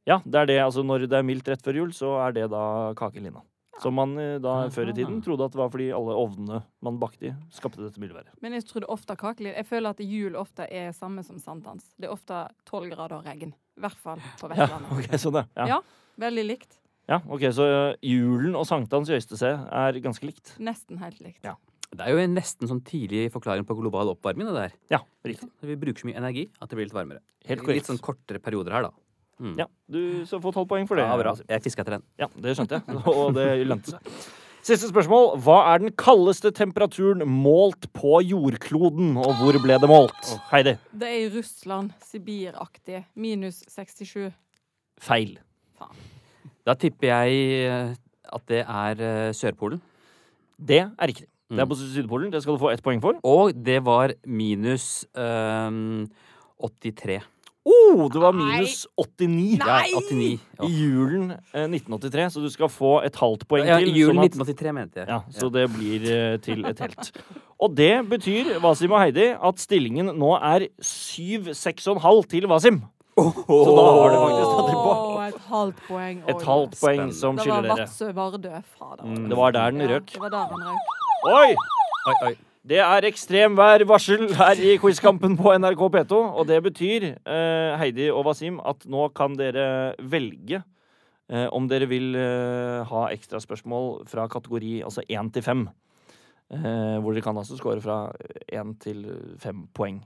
Ja, det er det. Altså når det er mildt rett før jul, så er det da kakelinna. Som man eh, da før i tiden trodde at det var fordi alle ovnene man bakte i, skapte dette mildværet.
Men jeg trodde ofte kakeliv. Jeg føler at jul ofte er samme som sankthans. Det er ofte 12 grader og regn. I hvert fall på
Ja,
Vestlandet.
ok, sånn ja. Ja.
Ja. Veldig likt.
ja, ok, Så eh, julen og sankthans i Øystese er ganske likt.
Nesten helt likt.
Ja.
Det er jo en nesten sånn tidlig forklaring på global oppvarming. det der.
Ja, riktig.
Vi bruker så mye energi at det blir litt varmere.
Helt
litt
korrekt.
sånn kortere perioder her, da. Mm.
Ja, Du skal få tolv poeng for det.
Ja, bra.
Nassim.
Jeg fiska etter den.
Ja, Det skjønte jeg, *laughs* og det lønte seg. Siste spørsmål. Hva er den kaldeste temperaturen målt på jordkloden, og hvor ble det målt? Heidi.
Det er i Russland, Sibir-aktig. Minus 67.
Feil.
Da tipper jeg eh, at det er eh, Sørpolen.
Det er riktig. Det
Mm.
er på Sydpolen. Det skal du få ett poeng for.
Og det var minus ehm, 83.
Oh, det var minus 89
Nei! 89.
i
Ja.
julen eh, 1983, så du skal få et halvt poeng
Ja,
til.
I julen
sånn at-
1983, mente jeg.
Ja, så det blir eh, til et helt. Og det betyr, Wasim og Heidi, at stillingen nå er 7-6,5 til Wasim. Så da har du faktisk tatt det på.
Åh, et halvt poeng. Oi.
Et halvt poeng
Spennende.
som
Det var
skiller dere.
Vadsø-Vardø. Fader.
Mm, Det var der den
Ja,
røk.
det var der han røk.
Oi!
Oi, oi.
Det er ekstremværvarsel her i Quizkampen på NRK P2. Og det betyr, eh, Heidi og Wasim, at nå kan dere velge eh, om dere vil eh, ha ekstraspørsmål fra kategori altså 1 til 5. Eh, hvor dere kan altså score fra 1 til 5 poeng.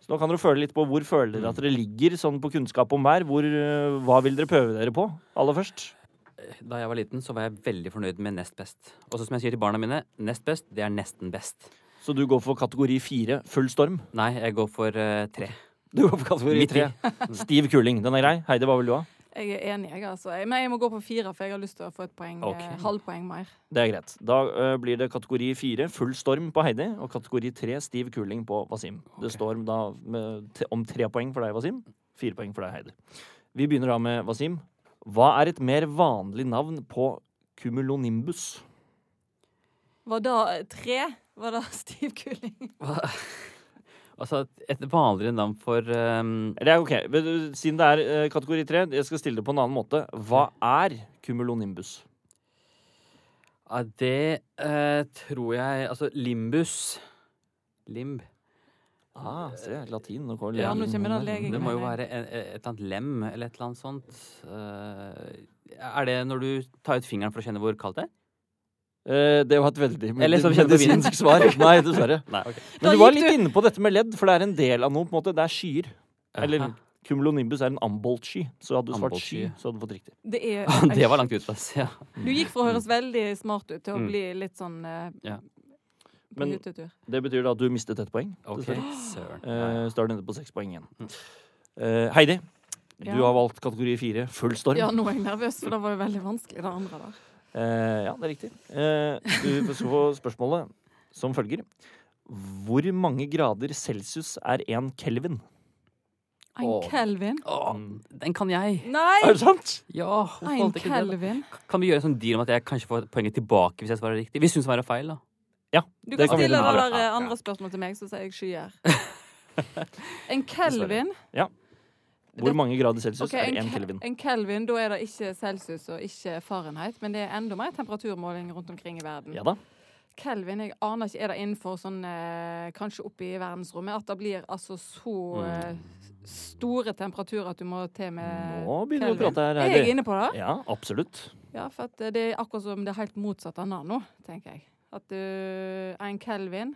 Så nå kan dere føle litt på hvor føler dere at dere ligger sånn på kunnskap om hver. Hvor, eh, hva vil dere prøve dere på aller først?
Da jeg var liten, så var jeg veldig fornøyd med nest best. Og så som jeg sier til barna mine, nest best, det er nesten best.
Så du går for kategori 4, full storm?
Nei, jeg går for eh, tre.
Du går for kategori
Midt i.
3. Stiv kuling. Den er grei. Heidi, hva vil du ha?
Jeg er enig, jeg, altså. Jeg- Men jeg må gå på fire, for jeg har lyst til å få et poeng,
Ok.
eh, halvpoeng mer.
Det er greit. Da ø, blir det kategori fire full storm på Heidi og kategori tre stiv kuling på Wasim. Det står da med, t om tre poeng for deg, Wasim. Fire poeng for deg, Heidi. Vi begynner da med Wasim. Hva er et mer vanlig navn på cumulonimbus?
Var det tre? Var *laughs* det stiv kuling?
*laughs* Altså et vanligere navn for ehm,
Eller ok, men, uh, Siden det er eh, kategori tre, jeg skal stille det på en annen måte. Hva er cumulonimbus?
Ja, det eh, tror jeg Altså, limbus Limb.
Ah, se, latin. Nå kommer
Ja, nå
legen.
kommer det legen.
Det må jo være en, et eller annet lem eller et eller annet sånt. Eh, er det når du tar ut fingeren for å kjenne hvor kaldt det er?
Eh, det var et veldig med,
Eller som kjent på vinden.
medisinsk svar. *laughs* Nei, dessverre.
*laughs* Nei, ok.
Men
Da
du var
gikk
litt inne på dette med ledd, for det er en del av noe. på en måte. Det er skyer. Eller
Aha.
cumulonimbus er en amboltsky. Så hadde du svart sky,
Amboltsky.
så hadde du fått riktig.
Det er
*laughs* Det var langt ute, ass. Ja.
Du gikk fra å høres veldig smart ut til å
Mm.
bli litt sånn eh,
Ja.
på
Men-
hyttetur.
Det betyr da at du mistet ett poeng.
Ok, Mm.
dessverre.
søren. Ja.
Eh, så er du nede på seks poeng igjen. Eh, Heidi,
Ja.
du har valgt kategori fire, full storm.
Ja, nå er jeg nervøs, for det var jo veldig vanskelig, det andre der.
Eh, ja, det er riktig. Eh, du skal få spørsmålet som følger. Hvor mange grader celsius er én kelvin?
En
Åh.
Kelvin?
Åh, den kan jeg!
Nei!
det sant?
Ja, hvorfor
En
valgte jeg ikke det,
Kelvin?
da? Kan vi gjøre en sånn deal om at jeg kanskje får poenget tilbake hvis jeg svarer riktig? Hvis hun svarer feil, da.
Du
Det
kan
kan vi
stille
gjøre.
det der
Ja, ja.
eh, andre spørsmålet til meg, så sier jeg skyer. En Kelvin
Hvor mange grader celsius
Ok,
er én
ke-
kelvin?
en Kelvin, Da er det ikke celsius og ikke Fahrenheit, men det er enda mer temperaturmåling rundt omkring i verden.
Ja da.
Kelvin, jeg aner ikke, er det innenfor sånn eh, Kanskje oppe i verdensrommet? At det blir altså så eh,
Mm.
store temperaturer at du må til med
Nå begynner vi å
Kelvin.
prate her,
Er jeg
Heidi.
inne på det?
Ja, absolutt.
Ja, for at eh, det er akkurat som det er helt motsatt av nano, tenker jeg. At eh, en kelvin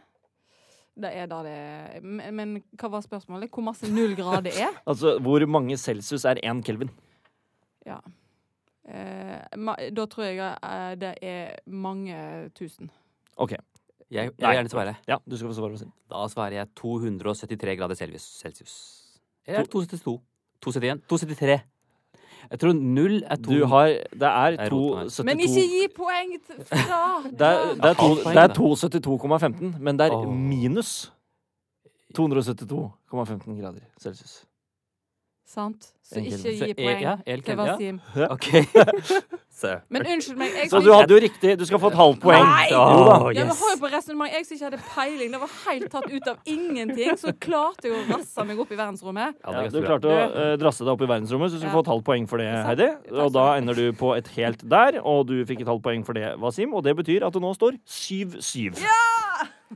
det er da det Men men hva var spørsmålet? Hvor masse null grader er?
Altså, hvor mange celsius er én kelvin?
Ja. Eh, ma, da tror jeg eh, det er mange tusen.
Ok,
Jeg, jeg
Nei.
vil gjerne svare.
ja, du skal få svare på sin.
Da svarer jeg 273 grader celsius. celsius. Eller er det 272? 271? 273. Jeg tror null er to.
Du har Det er
Jeg roter meg.
272
Men ikke gi poeng t-
*laughs*
fra
Det er, det er, to-
Halvt poeng,
det er
da.
272,15, men det er
Åh.
minus 272,15 grader celsius.
Sant? Så
En
ikke
kelvin.
Så
gi
e-
poeng
Ja, El
til
Kelvin, ja.
Wasim.
*laughs* *laughs* OK. Så.
Men unnskyld meg, jeg
Så
som
du
ikke-
hadde jo riktig. Du skal få et halvt poeng.
Nei!
Jo da.
Åh,
Ja, men
yes.
hør på resonnementet. Jeg som ikke hadde peiling, det var helt tatt ut av ingenting, så klarte jeg å rasse meg opp i verdensrommet.
Ja, det er
Ja,
ganske
du
bra.
klarte å eh, drasse deg opp i verdensrommet, så du skulle
Ja.
få et halvt poeng for det,
sant.
Heidi.
Takk
Og da
skal du ha.
ender du på et helt der, og du fikk et halvt poeng for det, Wasim. Og det betyr at det nå står 7-7.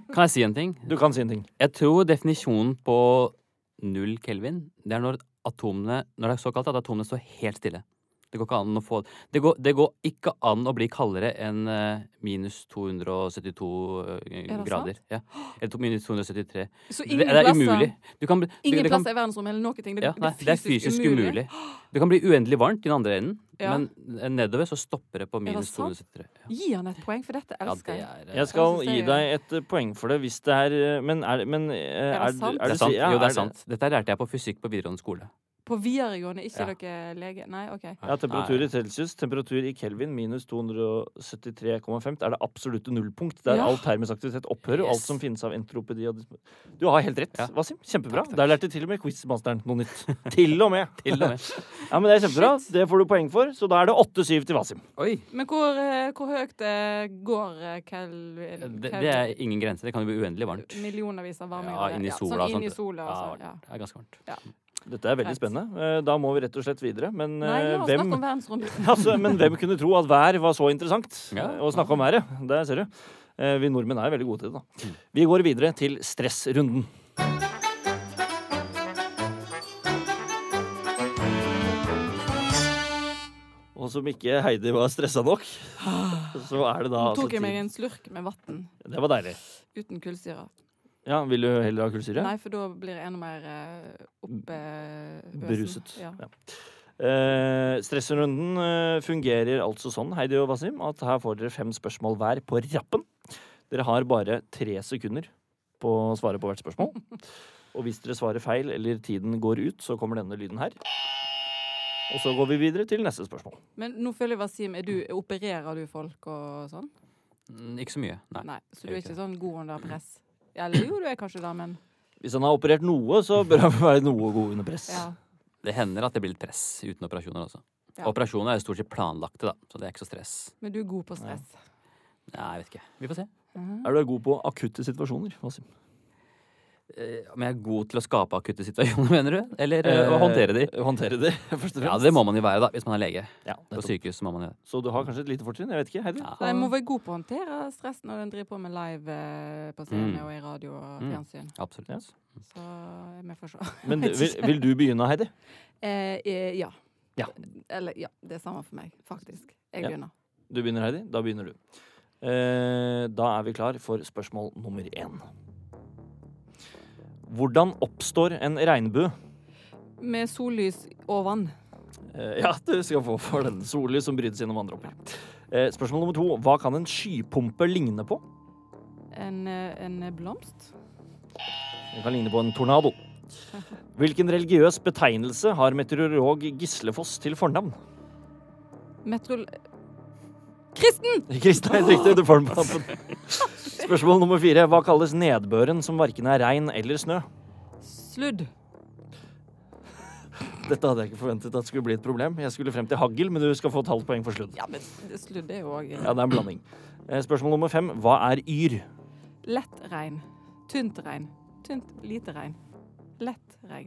Kan jeg si en ting?
Du kan si en ting.
Jeg tror definisjonen på null kelvin, det er når atomene Når det er såkalt at atomene står helt stille. Det går ikke an å få Det går, det går ikke an å bli kaldere enn eh, minus 272
Er det
eh, grader. Ja. Eller to- minus 273.
Så
Det,
ingen
det er
plasser-
umulig. Du kan, bli- det,
Ingen
det kan,
plasser i verdensrommet eller noen ting. Det,
ja, nei,
det
det er fysisk umulig. Det kan bli uendelig varmt i den andre enden,
Ja.
men nedover så stopper det på
det
minus
sant?
273. Ja.
Gi han et poeng, for dette
Ja,
elsker
det
jeg.
er, eh,
Jeg skal
Jeg synes
gi
det er-
deg et eh, poeng for det hvis det er eh, Men er, men, eh, er,
det sant?
det er sant.
ja,
Jo, det er sant. Dette lærte jeg på fysikk på videregående skole.
På videregående, ikke
Ja.
dere lege? Nei, OK.
Ja, temperatur i celsius, temperatur i kelvin, minus 273,5 er det absolutte nullpunkt. Der
Ja.
all termisk aktivitet opphører, og alt
Yes.
som finnes av entropedi og dis- Du har helt rett,
Ja.
Wasim. Kjempebra.
Takk, takk.
Der lærte til og med quizmasteren noe nytt.
*laughs*
til og med.
Til og *laughs* med.
Ja, men Det er kjempebra. Det får du poeng for. Så da er det 8-7 til Wasim.
Oi!
Men hvor, eh, hvor høyt eh, går eh, Kelvin?
Det,
Kelvin?
det er ingen grense. Det kan jo bli uendelig varmt.
Millionervis av varme.
Ja,
grader.
inn i sola og
Sånn inn i
sånt.
sola og sånn.
Ja,
Ja.
det er ganske varmt.
Dette er veldig
Greit.
spennende. Eh, Da må vi rett og slett videre. Men,
Nei,
eh,
la oss snakke
hvem,
om
*laughs*
verdensrommet.
altså, men hvem kunne tro at vær var så interessant?
Ja.
eh, Å snakke om været. Der ser du. Eh, Vi nordmenn er veldig gode til det, da. Vi går videre til stressrunden. Og som ikke Heidi var stressa nok, så er det da
Ah. Nå
altså
tok jeg meg
tid-
en slurk med vann
Det var deilig.
uten kullsyre.
Ja, Vil du heller ha kullsyre?
Nei, for da blir jeg enda mer eh, oppe... øsen.
Beruset.
Ja.
Ja. Eh, stressrunden eh, fungerer altså sånn, Heidi og Wasim, at her får dere fem spørsmål hver på rappen. Dere har bare tre sekunder på å svare på hvert spørsmål. Og hvis dere svarer feil eller tiden går ut, så kommer denne lyden her. Og så går vi videre til neste spørsmål.
Men nå føler jeg Wasim, er du, opererer du folk og sånn?
Mm, Ikke så mye. Nei.
Nei, så du
jeg
er
gjør ikke
ikke sånn god under press? Eller jo, du er kanskje det, men
Hvis han har operert noe, så bør han være noe god under press.
ja.
Det hender at det blir litt press uten operasjoner også.
Ja.
Operasjoner er jo stort sett planlagte, da, så det er ikke så stress.
Men du er god på stress.
Nei, jeg vet ikke. Vi får se.
Ja.
Er du god på akutte situasjoner? Wasim?
Eh, Om jeg er god til å skape akutte situasjoner, *laughs* mener du? Eller eh, å håndtere de?
Eh, Håndtere de, *laughs* først og
Ja,
fremst.
det må man jo være, da. Hvis man er lege.
Ja,
På
nettopp.
sykehus så må man jo det.
Så du har kanskje et lite fortrinn? Jeg vet ikke. Heidi?
Ja.
Så jeg må være god på å håndtere stress når en driver på med live eh, på scene
Mm.
og i radio og
Mm.
fjernsyn.
Absolutt.
Ja.
Så vi får se.
Men vil, vil du begynne, Heidi?
*laughs* Eh, eh, ja.
Ja.
Eller ja, det er samme for meg, faktisk. Jeg
Ja.
begynner.
Du begynner, Heidi. Da begynner du. Eh, da er vi klar for spørsmål nummer én. Hvordan oppstår en regnbue?
Med sollys og vann.
Eh, ja, du skal få for den. Sollys som brytes gjennom vanndråper. Eh, spørsmål nummer to. Hva kan en skypumpe ligne på?
En, eh, en blomst.
Den kan ligne på en tornado. Hvilken religiøs betegnelse har meteorolog Gislefoss til fornavn? *laughs*
Metrol... Kristen!
Kristin, helt riktig. Du får den på tampen. Spørsmål nummer fire. Hva kalles nedbøren som verken er regn eller snø?
Sludd.
Dette hadde jeg ikke forventet at skulle bli et problem. Jeg skulle frem til hagl, men du skal få et halvt poeng for sludd.
Ja, men sludd er jo òg
Ja, det er en blanding. Eh, Spørsmål nummer fem. Hva er yr?
Lett regn. Tynt regn. Tynt, lite regn. Lett regn.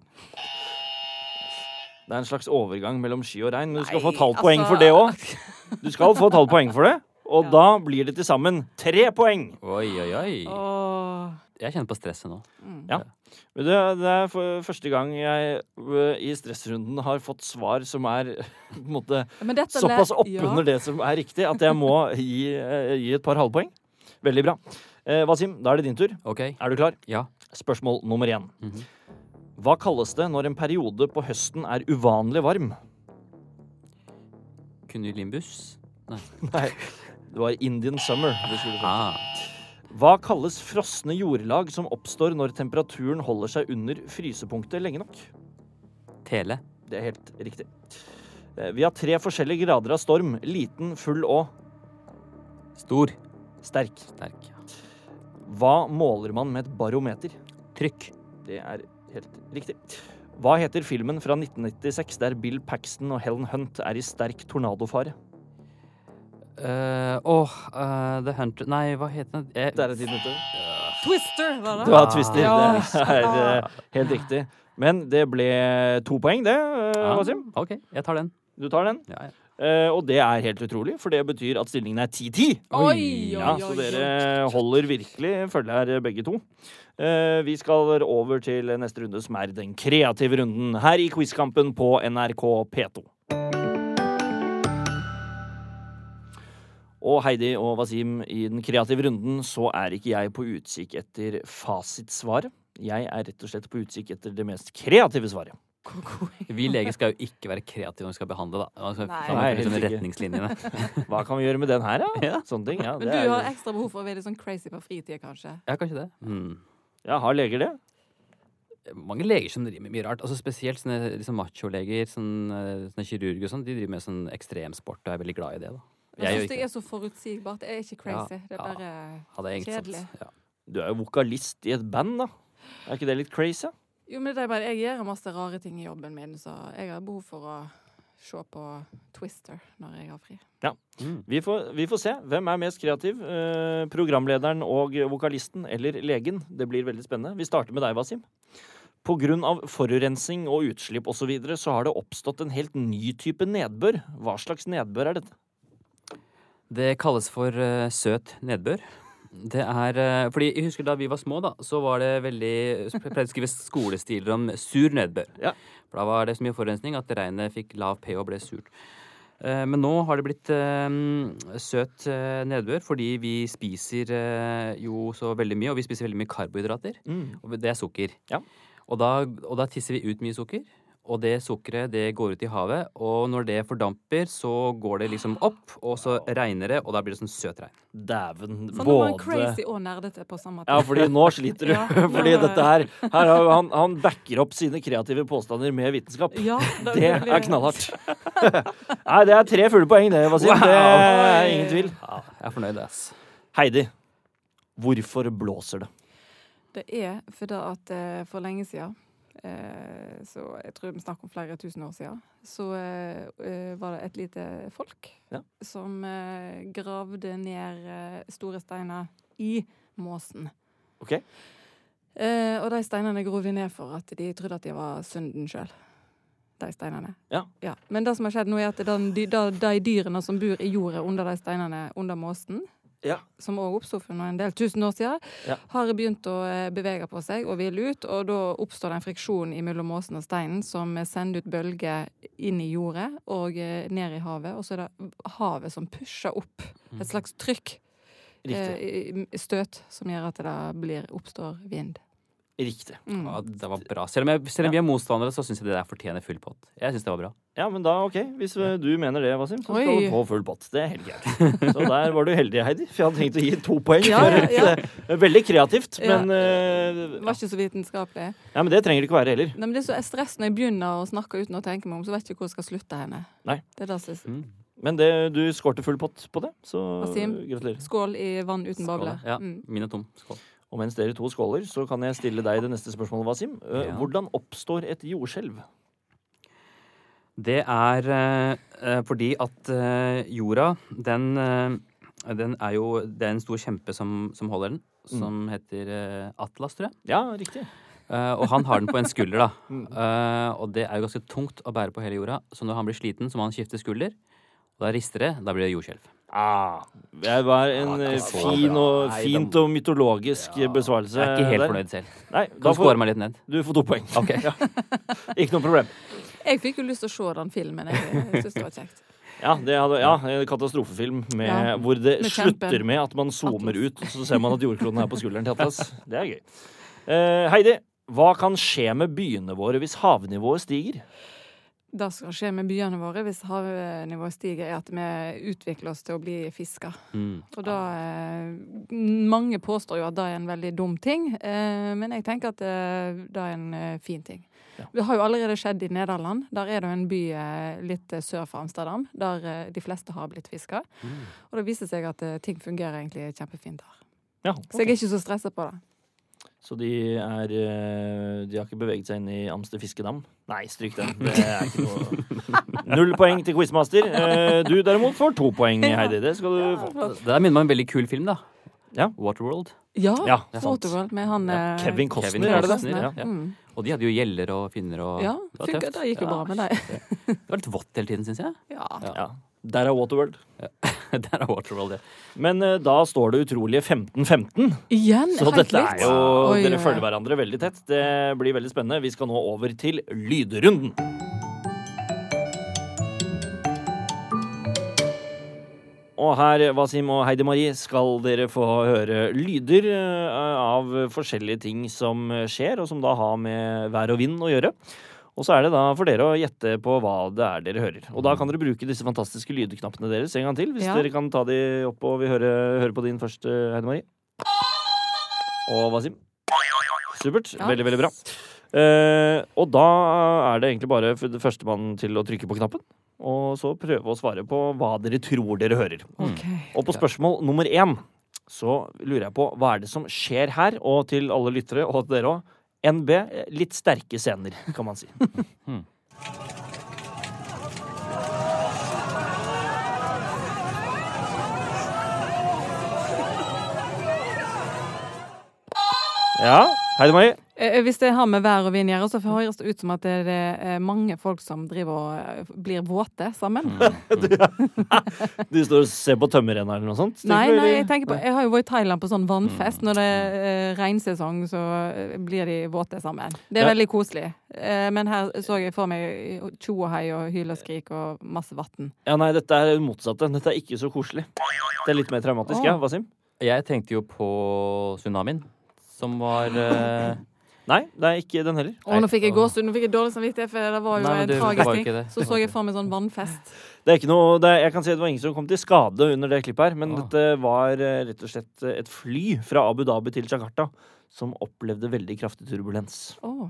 Det er en slags overgang mellom sky og regn, men du skal
Nei,
få et halvt poeng
altså-
for det òg. Du skal få et halvt poeng for det, og
*laughs* Ja.
da blir det til sammen tre poeng.
Oi, oi, oi.
*laughs* Åh.
Jeg kjenner på stresset nå.
Mm.
Ja. Men det, det er for første gang jeg ø, i stressrunden har fått svar som er *laughs* på en måte
Men dette
såpass
le-
oppunder det som er riktig, at jeg må gi, ø, gi et par halvpoeng. Veldig bra. Eh, Wasim, da er det din tur.
OK?
Er du klar?
Ja.
Spørsmål nummer én.
Mhm.
Hva kalles det når en periode på høsten er uvanlig varm?
Kunilimbus?
Nei, det var Indian summer. Det skulle du få.
Ah.
Hva kalles frosne jordlag som oppstår når temperaturen holder seg under frysepunktet lenge nok?
Tele.
Det er helt riktig. Eh, Vi har tre forskjellige grader av storm. Liten, full og
Stor.
sterk.
Sterk. ja.
Hva måler man med et barometer?
Trykk.
Det er helt riktig. Hva heter filmen fra 1996 der Bill Paxton og Helen Hunt er i sterk tornadofare?
Eh, Åh, eh, The Hunter Nei, hva heter den? Eh,
Det er et minutter.
Twister, var
Du
det?
har twister. *laughs*
Ja.
Det er eh, helt riktig. Men det ble to poeng, det, eh,
ja.
Wasim.
OK, jeg tar den.
Du tar den.
Ja, ja.
Eh, og det er helt utrolig, for det betyr at stillingen er 10-10.
Oi, oi,
Ja,
oi.
så dere holder virkelig følge her, begge to. Eh, Vi skal over til neste runde, som er den kreative runden her i Quizkampen på NRK P2. Og Heidi og Wasim, i den kreative runden så er ikke jeg på utkikk etter fasitsvaret. Jeg er rett og slett på utkikk etter det mest kreative svaret.
Vi leger skal jo ikke være kreative når vi skal behandle, da. Altså, Man skal,
Nei.
man
Nei,
følge sånne
helt ikke.
*laughs* retningslinjene.
Hva kan vi gjøre med den her,
*laughs*
da? Sånne ting. Ja,
Men
det
du
er-
har ekstra behov for å være litt sånn crazy på fritida, kanskje?
Ja, kanskje det. Mm.
ja, har leger det?
mange leger som driver med mye rart. Altså Spesielt sånne liksom macholeger, sånne, sånne kirurger og sånn. De driver med sånn ekstremsport og er veldig glad i det. da.
Jeg
gjør
syns det
ikke
er så forutsigbart. Det er ikke crazy.
Ja,
Det er
ja.
bare
Ja, det er egentlig sant.
kjedelig.
Ja.
Du er jo vokalist i et band, da. Er ikke det litt crazy?
Jo, men det er bare Jeg gjør masse rare ting i jobben min, så jeg har behov for å se på Twister når jeg har fri.
Vi får, vi får se. Hvem er mest kreativ? Eh, programlederen og vokalisten eller legen? Det blir veldig spennende. Vi starter med deg, Wasim. Pga. forurensning og utslipp osv. Så, videre, så har det oppstått en helt ny type nedbør. Hva slags nedbør er dette?
Det kalles for eh, søt nedbør. Det er eh, Fordi jeg husker da vi var små, da, så var det veldig så ple- pleide å skrive skolestiler om sur nedbør.
Ja.
For da var det så mye forurensning at regnet fikk lav pH og ble surt. Eh, Men nå har det blitt eh, søt eh, nedbør fordi vi spiser eh, jo så veldig mye, og vi spiser veldig mye karbohydrater.
Mm.
Og det er sukker.
Ja.
Og, da, og da tisser vi ut mye sukker. Og det sukkeret det går ut i havet, og når det fordamper, så går det liksom opp, og så regner det, og da blir det sånn søt regn.
Dæven.
Sånn Både... man
Både
crazy og nerdete på samme tid.
ja, fordi nå sliter du.
*laughs* Ja.
*laughs* Fordi dette her, her har, han, han backer opp sine kreative påstander med vitenskap.
Ja,
*laughs*
da
Det
blir
er knallhardt. *laughs* Nei, det er tre fulle poeng, det, Wasim. Det er ingen tvil.
Jeg er fornøyd, ass.
Heidi, hvorfor blåser det?
Det er fordi at eh, for lenge siden, eh, så jeg tror vi snakker om flere tusen år siden, så eh, eh, var det et lite folk
Ja.
som eh, gravde ned eh, store steiner i måsen.
Ok.
Eh, og de steinene grov vi ned for at de trodde at de var synden sjøl. De steinene.
Ja.
Men det som har skjedd nå, er at den, de, de, de dyrene som bor i jordet under de steinene under måsen,
Ja.
som òg oppsto for nå en del tusen år siden,
Ja.
har begynt å eh, bevege på seg og hvile ut. Og da oppstår det en friksjon mellom måsen og steinen som sender ut bølger inn i jordet og eh, ned i havet. Og så er det havet som pusher opp et slags trykk, eh,
Mm. Riktig.
i- i- støt, som gjør at det da blir, oppstår vind.
Riktig.
Mm.
Ja, det var bra. Selv om, jeg, selv om vi er motstandere, så syns jeg det der fortjener full pott. Jeg synes det var bra.
Ja, men da, ok, Hvis eh, du mener det, Wasim, så skal
Oi.
du få full pott. Det er helt greit. Så der var du heldig, Heidi, for jeg hadde tenkt å gi to poeng.
Ja,
for
ja,
at, eh, Veldig kreativt,
Ja.
men eh,
Det var ikke så vitenskapelig.
ja, men det trenger det ikke være heller.
Nei, men det er så stress når jeg begynner å snakke uten å tenke meg om, så vet jeg ikke hvor jeg skal slutte henne.
Nei.
Det er det som er-
Men det, du skårte full pott på det, så
Wasim.
gratulerer.
Skål i vann uten
Skål,
bobler.
Ja,
Mm.
Min er tom. Skål.
Og mens dere to skåler, så kan jeg stille deg det neste spørsmålet, Wasim. Eh,
Ja.
Hvordan oppstår et jordskjelv?
Det er eh, eh, fordi at eh, jorda, den, eh, den er jo Det er en stor kjempe som, som holder den, som heter eh, Atlas, tror jeg.
Ja, riktig.
Eh, og han har den på en skulder, da. *laughs* Eh, og det er jo ganske tungt å bære på hele jorda, så når han blir sliten, så må han skifte skulder. Og da rister det. Da blir det jordskjelv.
Ah, det var en
Ja, det er
eh,
så
fin
bra.
og,
Nei,
fint
den-
og mytologisk eh, besvarelse.
Jeg er ikke helt
der.
fornøyd selv.
Nei,
Kan
da
du score
får,
meg litt ned?
du får to poeng. *laughs* Ja. Ikke noe problem.
Jeg fikk jo lyst til å se den filmen. Jeg, jeg synes det var kjekt.
Ja, det hadde, ja en katastrofefilm med,
Ja,
hvor det
med
slutter
kjempen.
med at man zoomer ut, og så ser man at jordkloden er på skulderen til
*laughs*
Atlas. Det er gøy. Eh, Heidi, hva kan skje med byene våre hvis havnivået stiger?
Det som skjer med byene våre hvis havnivået stiger, er at vi utvikler oss til å bli fisker.
Mm.
Og da eh, Mange påstår jo at det er en veldig dum ting, eh, men jeg tenker at eh, det er en eh, fin ting.
Ja.
Det har jo allerede skjedd i Nederland. Der er det jo en by eh, litt eh, sør for Amsterdam der eh, de fleste har blitt fiska.
Mm.
Og det viser seg at eh, ting fungerer egentlig kjempefint der.
Ja,
Så jeg er ikke så stressa på det.
Så de er eh, De har ikke beveget seg inn i Amster Fiskedam? Nei, stryk den. Det er ikke noe *laughs* Null poeng til quizmaster. Eh, Du derimot får to poeng, Heidi. Det skal du få.
Det der minner meg om en veldig kul film, da.
Ja.
Waterworld.
Ja,
Ja, det er sant.
Waterworld med han
Ja,
eh,
Kevin
Kevin
Costner, er det det?
Costner,
Ja.
ja.
Mm.
Og de hadde jo gjeller og finner og
Ja,
Det var
funker-
tøft.
det gikk jo bra med
det. Det var litt vått hele tiden, syns jeg. *laughs*
Ja.
Ja. Der er Waterworld.
Der er Waterworld, det.
Men eh, da står det utrolige 15-15.
Igjen,
Så
helt
dette er
likt.
jo
Sånn, Oi,
Dere
oi, oi.
følger hverandre veldig tett. Det blir veldig spennende. Vi skal nå over til lydrunden. Og her, Wasim og Heidi Marie, skal dere få høre lyder eh, av forskjellige ting som skjer, og som da har med vær og vind å gjøre. Og så er det da for dere å gjette på hva det er dere hører. Og da kan dere bruke disse fantastiske lydknappene deres en gang til, hvis
Ja.
dere kan ta de opp og vi hører, hører på din først, eh, Heidi Marie. Og Wasim. Supert.
Ja.
Veldig, veldig bra. Eh, og da er det egentlig bare f- førstemann til å trykke på knappen. Og så prøve å svare på hva dere tror dere hører.
Ok.
Og på spørsmål nummer én så lurer jeg på hva er det som skjer her, og til alle lyttere, og til dere òg. NB litt sterke scener, kan man si. Ja. Heidi Marie.
Eh, Hvis det har med vær og vind å gjøre, så høres det ut som at det er mange folk som driver og eh, blir våte sammen.
Mm. Du står og ser på tømmerrenna eller noe sånt? tenker
Nei,
du,
nei,
eller?
jeg tenker på Jeg har jo vært i Thailand på sånn
Mm.
vannfest. Når det er eh, regnsesong, så eh, blir de våte sammen. Det er
Ja.
veldig koselig. Eh, Men her så jeg for meg tjo og hei og hyl og skrik og masse vann.
Ja, nei, dette er det motsatte. Dette er ikke så koselig. Det er litt mer traumatisk, ja, Wasim?
Jeg tenkte jo på tsunamien, som var *laughs* eh,
Nei, det er ikke den heller.
Å, nå fikk jeg gåsehud. Nå fikk jeg dårlig samvittighet, for det var jo
Nei, men
en
det- det
tragisk
var jo
ting.
ikke det.
Så
Det var
så
ikke
jeg for meg sånn vannfest.
Det er ikke noe, det er, jeg kan si at det var ingen som kom til skade under det klippet her, men
Ah.
dette var eh, rett og slett et fly fra Abu Dhabi til Jakarta som opplevde veldig kraftig turbulens.
Åh.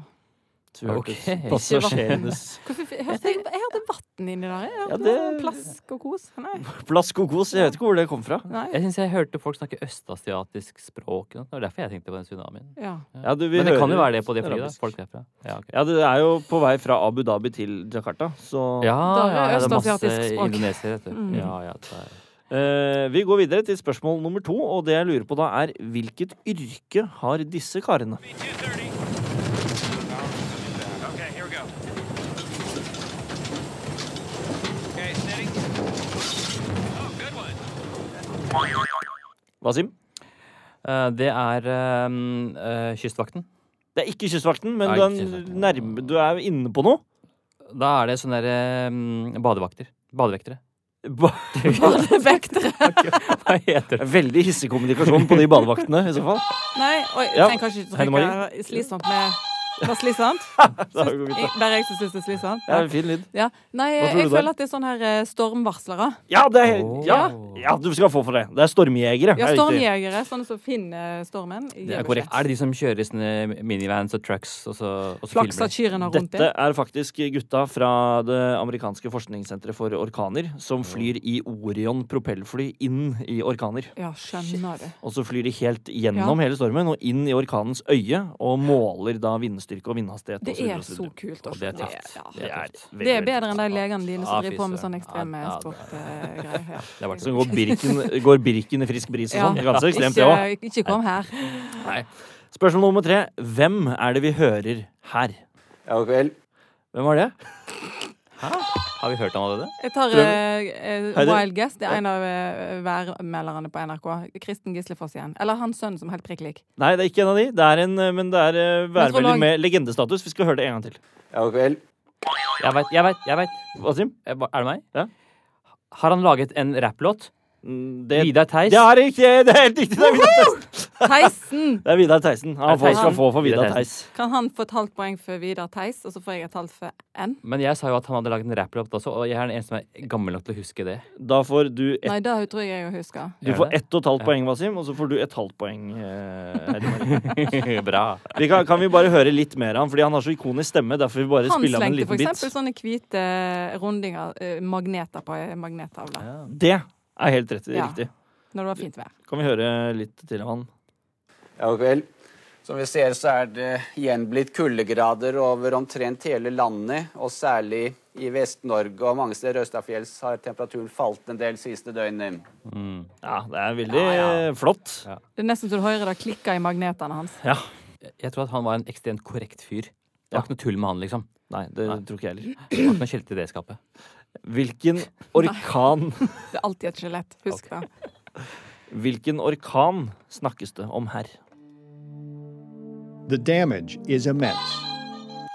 Så vi hørte *laughs*
Ok.
passasjerenes
Hvorfor, f- jeg, hørte, jeg, jeg hørte vann inni der. Jeg
Ja,
hørte
det-
Plask og kos. Nei.
plask og kos. Jeg vet ikke hvor det kom fra.
Nei.
Jeg syns jeg hørte folk snakke østasiatisk språk. og sånt. Det var derfor jeg tenkte på den tsunamien.
Ja.
Ja, du, vi
Men det kan
hører-
jo være det på det flyet. da.
arabisk.
Folk derfra. Ja, ok.
Ja, det er jo på vei fra Abu Dhabi til Jakarta, så
ja,
Da er
ja, ja, det er masse
østasiatisk språk.
indonesier, vet du.
Mm.
Ja, ja, det er-
Eh, vi går videre til spørsmål nummer to, og det jeg lurer på da er hvilket yrke har disse karene?
Okay, here we go. Okay, steady. Oh, good one.
Wasim?
Eh, Det er ehm, eh, Kystvakten.
Det er ikke Kystvakten, men
Nei,
du, er
ikke
en
Kystvakten.
nærme, du er inne på noe.
Da er det sånne der, ehm, badevakter. Badevektere.
Ba-
Badevektere.
Hva heter det?
Veldig hissig kommunikasjon på de badevaktene, i så *laughs* fall.
Nei, oi, jeg
Ja.
trenger kanskje ikke
Henne
trykke det var slitsomt med Det var slitsomt?
Da går vi videre.
Jeg- Bare jeg som syns det er slitsomt?
Det er en fin lyd.
Ja. Nei,
Hva
jeg,
tror du der?
føler at det er sånn her eh, stormvarslere.
Ja, det er, ja,
Åh.
ja, du skal få for det. Det er stormjegere.
Ja,
er riktig.
stormjegere. Sånne som finner stormen.
Det er korrekt. Er det de som kjører i sånne minivans og trucks og så, og så
Flaks
filmer?
at kyrne har rundt
Dette
dem.
er faktisk gutta fra det amerikanske forskningssenteret for orkaner som flyr i Orion propellfly inn i orkaner.
Ja, skjønner du.
Og så flyr de helt gjennom hele stormen og inn i orkanens øye og måler da vindstyrke og vindhastighet.
Det
og så
er
videre, og så
så
videre.
kult.
Og
Åsmund.
det er
Det
tøft.
er- ja.
Det er, veldig,
Det er
veldig
bedre enn de legene dine som
Ja,
driver på med
fy
sånn
søren.
ekstreme eh,
Ja, ja, det-
sportgreier.
Det har vært
*laughs*
Så går Birken, går birken i frisk bris og sånn. Det er ganske ekstremt, det òg.
ikke, ikke kom her.
Spørsmål nummer tre. Hvem er det vi hører her?
Ja, vel.
Hvem var det?
Har vi hørt om det?
Jeg tar
Prøv.
eh, eh,
Hei, det-
Wild Guess. Det er en av eh, værmelderne på NRK. Kristen Gislefoss igjen. Eller hans sønn som er helt prikk
*laughs*
lik.
Nei, det er ikke en av de. Det er en, eh, men det er eh, værmelder
Meteorolog.
med legendestatus. Vi skal høre det en gang til.
Ja, vel.
Jeg veit, jeg veit, jeg veit.
Wasim?
Er det meg?
Ja.
Har han laget en rapplåt?
Mm, Det,
Vidar Theis?
det er riktig! Det er helt riktig! Det er Vidar Theisen.
Theisen!
Det er Vidar Theisen. Han får, skal
Theisen.
få for Vidar
Vidar
Theis.
Kan han få et halvt poeng for Vidar Theis, og så får jeg et halvt for N?
Men jeg sa jo at han hadde laget en rapplåt også, og jeg er den eneste som er gammel nok til å huske det.
Da får du ett,
Nei, det tror jeg jeg husker.
du
Gjør
får
det?
ett og et halvt poeng, Wasim, og så får du et halvt poeng. eh, Heidi Marie.
Bra.
Vi kan, kan vi bare høre litt mer av han, fordi han har så ikonisk stemme. Derfor vi bare
Han
spiller han en
slengte
liten
for
bit.
eksempel sånne hvite rundinger, eh, magneter, på ei magnettavle.
Det er helt rett,
Ja.
riktig.
Når det var fint vær.
Kan vi høre litt til av han?
Ja, vel. Som vi ser, så er det igjen blitt kuldegrader over omtrent hele landet. Og særlig i Vest-Norge og mange steder Østafjells har temperaturen falt en del siste eh, døgnet.
Ja, det er veldig eh, flott.
Det er nesten så du hører det klikker i magnetene hans.
Jeg tror at han var en ekstremt korrekt fyr. Det var ikke noe tull med han, liksom.
Nei, det tror ikke jeg heller.
Det var ikke noe skjelte i det skapet.
Hvilken orkan
Det er alltid et skjelett. Husk det.
Hvilken orkan snakkes det om her?
The damage is immense.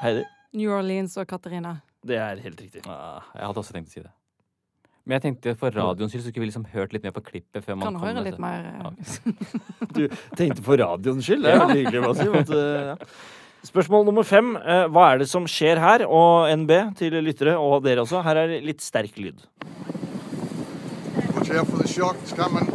Heidi?
New Orleans og Katarina.
Det er helt riktig.
Ah, Jeg hadde også tenkt å si det. Men jeg tenkte for radioens skyld så skulle vi liksom hørt litt mer på klippet før man
Kan
kom
høre
med
litt
det.
mer. eh,
Du tenkte på radioens skyld. Det er veldig hyggelig. Basim, at, eh, ja. Spørsmål nummer fem. eh, Hva er det som skjer her? Og NB til lyttere, og dere også. Her er litt sterk lyd.
Watch out for the shock, it's coming.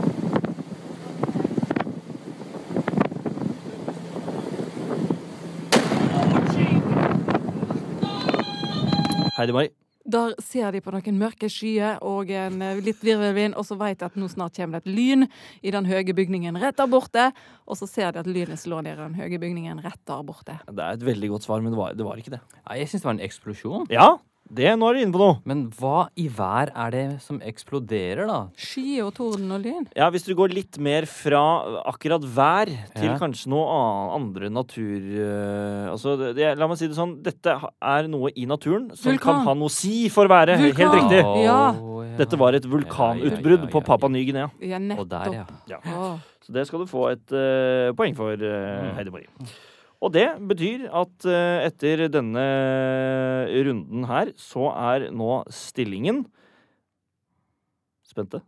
Heidi Marie.
Der ser de på noen mørke skyer og en eh, litt virvelvind, og så vet de at nå snart kommer det et lyn i den høye bygningen rett der borte. Og så ser de at lynet slår ned i den høye bygningen rett der borte.
Det er et veldig godt svar, men det var, det var ikke det.
Nei, Jeg syns det var en eksplosjon.
Ja, det, nå er du inne på noe.
Men hva i vær er det som eksploderer, da?
Skyer og torden og lyn.
Ja, Hvis du går litt mer fra akkurat vær til
Ja.
kanskje noe annet, andre natur... eh, altså, det, det- la meg si det sånn. Dette ha- er noe i naturen som kan
Vulkan.
ha noe å si for været. Helt
Vulkan.
riktig.
Å,
Ja.
Dette var et vulkanutbrudd på Papa Ny-Guinea.
Ja,
Og der, ja.
nettopp. Å,
Så det skal du få et eh, poeng for, eh, Heidi Marie. Og det betyr at eh, etter denne runden her, så er nå stillingen Spente?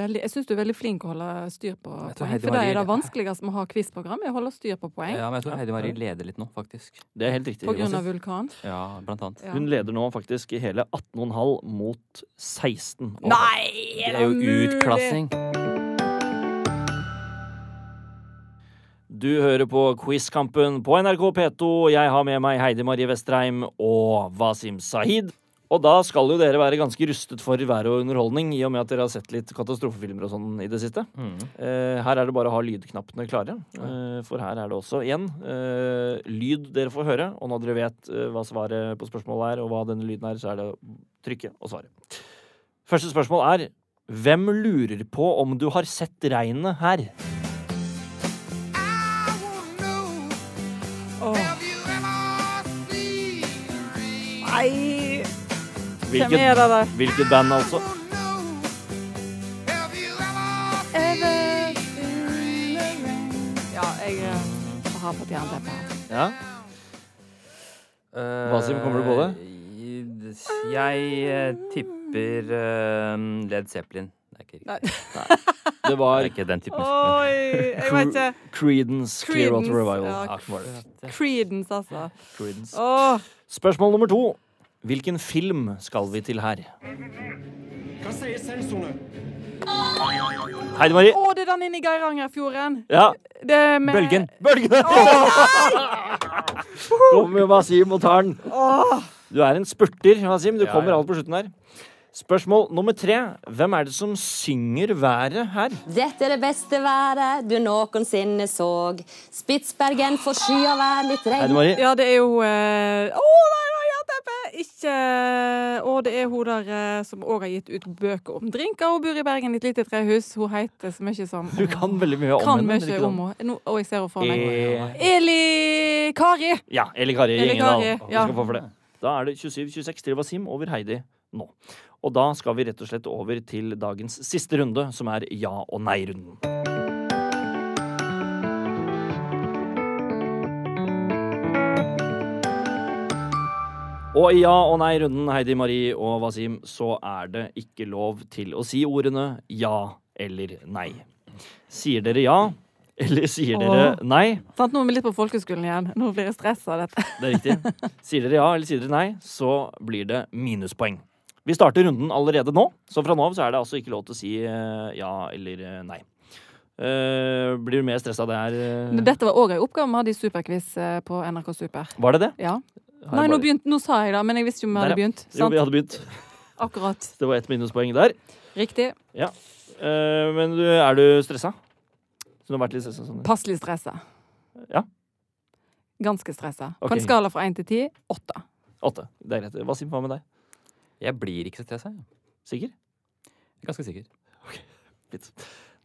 veldig, jeg syns du er veldig flink å holde styr på
Jeg tror
poeng,
Heidi
for det
Marie-
er det vanskeligste med å ha quizprogram, er å holde styr på poeng.
Ja, men jeg tror Heidi Marie leder litt nå, faktisk.
Det er helt riktig.
På grunn av
Jonas.
vulkan.
Ja, blant annet.
Ja.
Hun leder nå faktisk i hele 18,5 mot 16. Og
Nei,
Det er jo utklassing.
Du hører på Quizkampen på NRK P2. Jeg har med meg Heidi Marie Vestreim og Wasim Sahid. Og da skal jo dere være ganske rustet for vær og underholdning, i og med at dere har sett litt katastrofefilmer og sånn i det siste. Eh, her er det bare å ha lydknappene klare, eh, for her er det også igjen eh, lyd dere får høre. Og når dere vet eh, hva svaret på spørsmålet er, og hva denne lyden er, så er det å trykke og svare. Første spørsmål er Hvem lurer på om du har sett regnet her?
Nei, hvem
Hvilket,
er det der?
hvilket band, altså?
Ja, jeg eh, har fått jernteppe her.
Ja. Wasim,
Eh,
kommer du på det?
det? Jeg eh, tipper eh, Led Zeppelin. Det er ikke
*laughs*
riktig.
Det
Det
var
er ikke den typen.
Oi, jeg vet ikke.
Creedence Clearwater
Creedence,
Revival.
ja.
var det.
Creedence, altså.
Creedence.
Åh,
Spørsmål nummer to. Hvilken film skal vi til her? Heidi Marie.
Å, det er den inne i Geirangerfjorden.
Ja,
Det er med
Bølgen.
Bølgene! *laughs* Kommer Wasim og tar den. Du er en spurter, Wasim. Du kommer alt på slutten her. Spørsmål nummer tre. Hvem er det som synger været her?
Dette er det beste været du noensinne såg. Spitsbergen får sky av vær, litt
Heidi
regn
Marie.
Ja, det er jo eh, Å, nei, det var jernteppe! Ikke Å, det er hun der eh, som òg har gitt ut bøker om drinker. Hun bor i Bergen, i et lite trehus. Hun heter så mye som
Du kan veldig mye om
Kan
henne. men
mye
ikke
om henne. Nå- Å, jeg ser henne for
Eh.
meg. Eli Kari!
Ja, Eli Kari
Eli
Gjengedal.
Kari,
Vi
ja.
skal få for det. Da er det 27-26 til Wasim over Heidi nå. Og da skal vi rett og slett over til dagens siste runde, som er ja- og nei-runden. Og i ja og nei-runden, Heidi Marie og Wasim, så er det ikke lov til å si ordene ja eller nei. Sier dere ja, eller sier dere nei?
Sant, nå er vi litt på folkeskolen igjen. Nå blir jeg stressa av dette.
Det er riktig. Sier dere ja eller sier dere nei, så blir det minuspoeng. Vi starter runden allerede nå, så fra nå av så er det altså ikke lov til å si eh, ja eller eh, nei. Eh, blir du mer stressa av det her? eh?
Men dette var òg en oppgave vi hadde i Superquiz eh, på NRK Super.
Var det det?
Ja.
Har
Nei,
jeg
nå,
bare-
begynte, nå sa jeg det, men jeg visste jo om vi hadde
Der, ja.
begynt.
Jo,
Sant?
vi hadde begynt.
Akkurat.
Det var ett minuspoeng der.
Riktig.
Eh, men du, er du stressa? Så du har vært litt stressa? Sånn.
Passelig stressa.
Ja.
Ganske stressa. På
Ok.
en skala fra én til ti åtte.
Åtte. Det er greit. Hva sier hva med deg?
Jeg blir ikke så stressa. jeg.
Sikker?
Jeg er ganske sikker.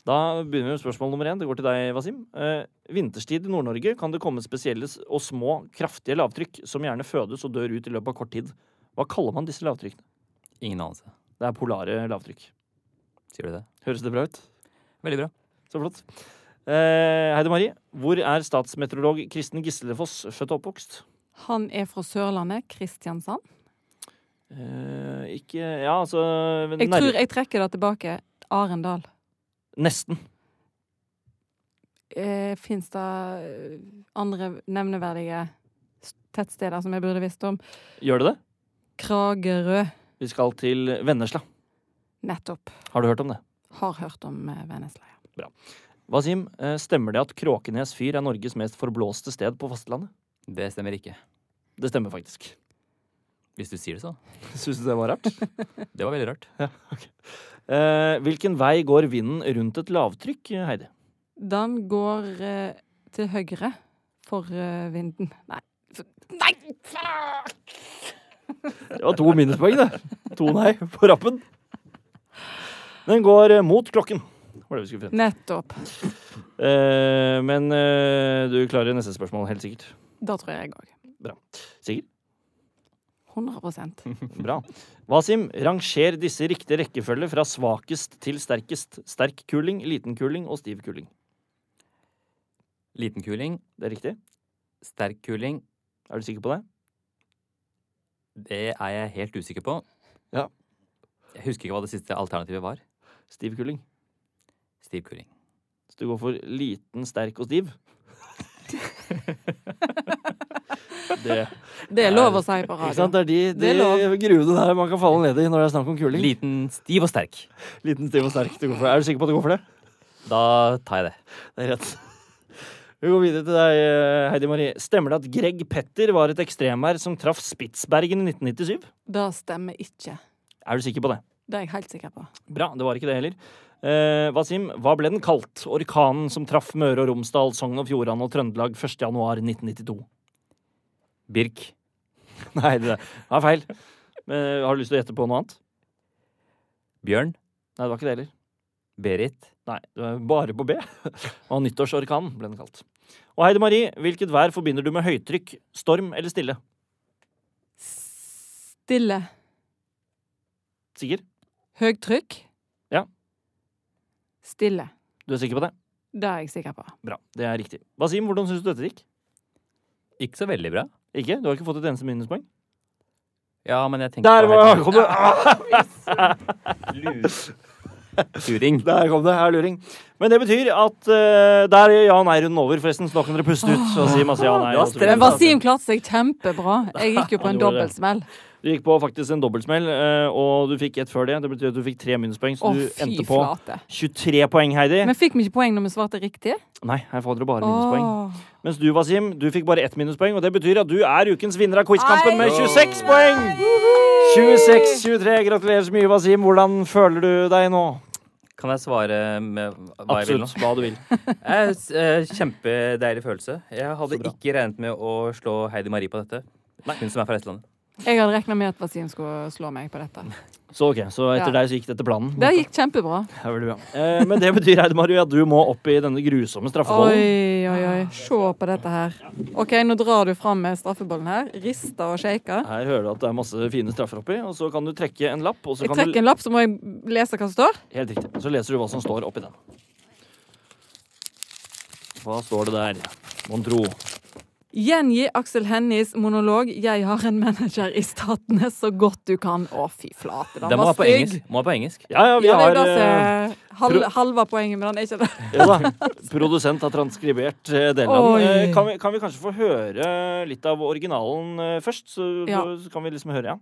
Da begynner vi med spørsmål nummer én. Det går til deg, Wasim. Eh, vinterstid i Nord-Norge kan det komme spesielle s- og små, kraftige lavtrykk som gjerne fødes og dør ut i løpet av kort tid. Hva kaller man disse lavtrykkene?
Ingen anelse.
Det er polare lavtrykk.
Sier du det?
Høres det bra ut?
Veldig bra.
Så flott. Eh, Heide Marie, hvor er statsmeteorolog Kristen Gislefoss født og oppvokst?
Han er fra Sørlandet. Kristiansand.
Eh, ikke Ja, altså
Jeg
nær-
tror jeg trekker det tilbake. Arendal.
Nesten.
Eh, Fins det eh, andre nevneverdige s- tettsteder som jeg burde visst om?
Gjør det det?
Kragerø.
Vi skal til Vennesla.
Nettopp.
Har du hørt om det?
Har hørt om eh, Vennesla. ja.
Wasim, eh, stemmer det at Kråkenes fyr er Norges mest forblåste sted på fastlandet?
Det stemmer ikke.
Det stemmer faktisk.
Hvis du sier det sånn.
Syns du det var rart?
Det var veldig rart.
*laughs* Eh, hvilken vei går vinden rundt et lavtrykk, Heidi?
Den går eh, til høyre for eh, vinden. Nei. f- Nei!
Det var to minuspoeng, det. To nei på rappen. Den går eh, mot klokken. Var det vi skulle frem til.
Nettopp.
Eh, men eh, du klarer neste spørsmål, helt sikkert.
Da tror jeg jeg òg.
Sikker?
100
Bra. Wasim, ranger disse riktig rekkefølge fra svakest til sterkest. Sterk kuling, liten kuling og stiv kuling.
Liten kuling,
Det er riktig?
sterk kuling.
Er du sikker på det?
Det er jeg helt usikker på.
Ja.
Jeg husker ikke hva det siste alternativet var.
Stiv kuling.
Stiv kuling.
Så du går for liten, sterk og *laughs* stiv? det
Det er lov å si på
Ikke sant? Det
radio.
er de, de
Det er lov.
gruvene der man kan falle ned i når det er snakk om kuling.
Liten, stiv og sterk.
Liten, stiv og sterk. Du går for det. Er du sikker på at du går for det?
Da tar jeg det.
Det er rett. Vi går videre til deg, eh, Heidi Marie. Stemmer det at Greg Petter var et ekstremvær som traff Spitsbergen i 1997?
Det stemmer ikke.
Er du sikker på det?
Det er jeg helt sikker på.
Bra, det var ikke det heller. Eh, Wasim, hva ble den kalt? Orkanen som traff Møre og Romsdal, Sogn og Fjordane og Trøndelag 1. januar 1992? *laughs*
Birk.
Eh, Nei, det er feil. Men, har du lyst til å gjette på noe annet?
Bjørn.
Nei, det var ikke det heller.
Berit?
Nei, det var bare på B. Og nyttårsorkan ble den kalt. Og Heidi Marie, hvilket vær forbinder du med høytrykk, storm eller stille?
Stille.
Sikker?
Høytrykk.
Ja.
Stille.
Du er sikker på det?
Det er jeg sikker på.
Bra. Det er riktig. Basim, hvordan syns du dette gikk?
Ikke så veldig bra.
Ikke? Du har ikke fått et eneste minuspoeng?
Ja, men jeg tenkte
Der
på
var,
Heidi.
*laughs* kom Ah, det!
Luring.
Der kom det. Her, luring. Men det betyr at eh, der er ja- og nei-runden over, forresten. Så nå kan dere puste ut og si masse ja og nei.
Det var
og så
strøm,
videre.
Men Wasim klarte seg kjempebra. Jeg gikk jo på
Han
en
gjorde det.
dobbeltsmell.
Du gikk på faktisk en dobbeltsmell, eh, og du fikk ett før det. Det betyr at du fikk tre minuspoeng, så
Å,
du
fy
endte på
flate.
23 poeng, Heidi.
Men fikk vi ikke poeng når vi svarte riktig?
Nei, her får dere bare minuspoeng.
Åh.
Mens du, Wasim, du fikk bare ett minuspoeng, og det betyr at du er ukens vinner av quizkampen med
Ai.
26 poeng! 26-23. Gratulerer så mye, Wasim. Hvordan føler du deg nå?
Kan jeg svare med hva jeg vil nå?
Absolutt hva du vil.
Eh, s- eh, Kjempedeilig følelse. Jeg hadde ikke regnet med å slå Heidi Marie på dette. Hun som er fra Vestlandet.
Jeg hadde regna med at Wasim skulle slå meg på dette.
Så ok, så etter
Ja.
deg så gikk det etter planen.
Det gikk kjempebra.
Det er veldig bra. Eh, men det betyr, Heidi Marie, at du må opp i denne grusomme straffebollen.
Oi, oi, oi. Se på dette her. OK, nå drar du fram med straffebollen her. Rister og shaker.
Her hører du at det er masse fine straffer oppi, og så kan du trekke en lapp. Og så
Jeg
kan du,
trekker en lapp, så må jeg lese hva som står.
helt riktig. Så leser du hva som står oppi den. Hva står det der, mon tro?
Gjengi Aksel Hennies monolog 'Jeg har en manager i Statene' så godt du kan. Å, fy flate. Den
Den må
var
være på engelsk.
stygg.
Må være på engelsk.
Ja, ja, vi
Ja, det
har
er jo det
eh,
som er halv, halve poenget med den, er ikke det?
ja, da, Produsent har transkribert eh, deler av
Oi.
den. Eh, Kan, vi- kan vi kanskje få høre litt av originalen eh, først? Så,
Ja.
så kan vi liksom høre, ja.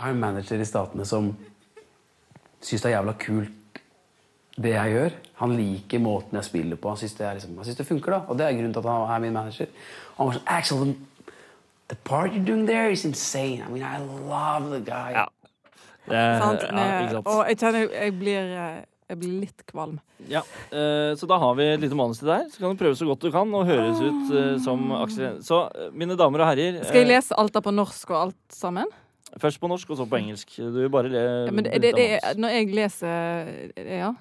Jeg er en manager i statene som syns det er jævla kult det jeg gjør. Han liker måten jeg spiller på. Han syns det, er liksom, han synes det funker. da. Og det er grunnen til at han er min manager. Og han var sånn, Axel, the, the part you're doing there is insane. I mean, I love the guy.
Det er-
Sant? Eh,
ja, ikke sant.
Og jeg kjenner jeg blir, eh, jeg blir litt kvalm.
Ja, eh, Så da har vi et lite manus til deg. Så kan du prøve så godt du kan og høres ut eh, som Aksel Så eh, mine damer og herrer
Ah. Skal jeg
eh,
lese alt det på norsk og alt sammen?
Først på norsk og så på engelsk. Du bare le,
Ja, men det, det, det, er- når jeg leser ja,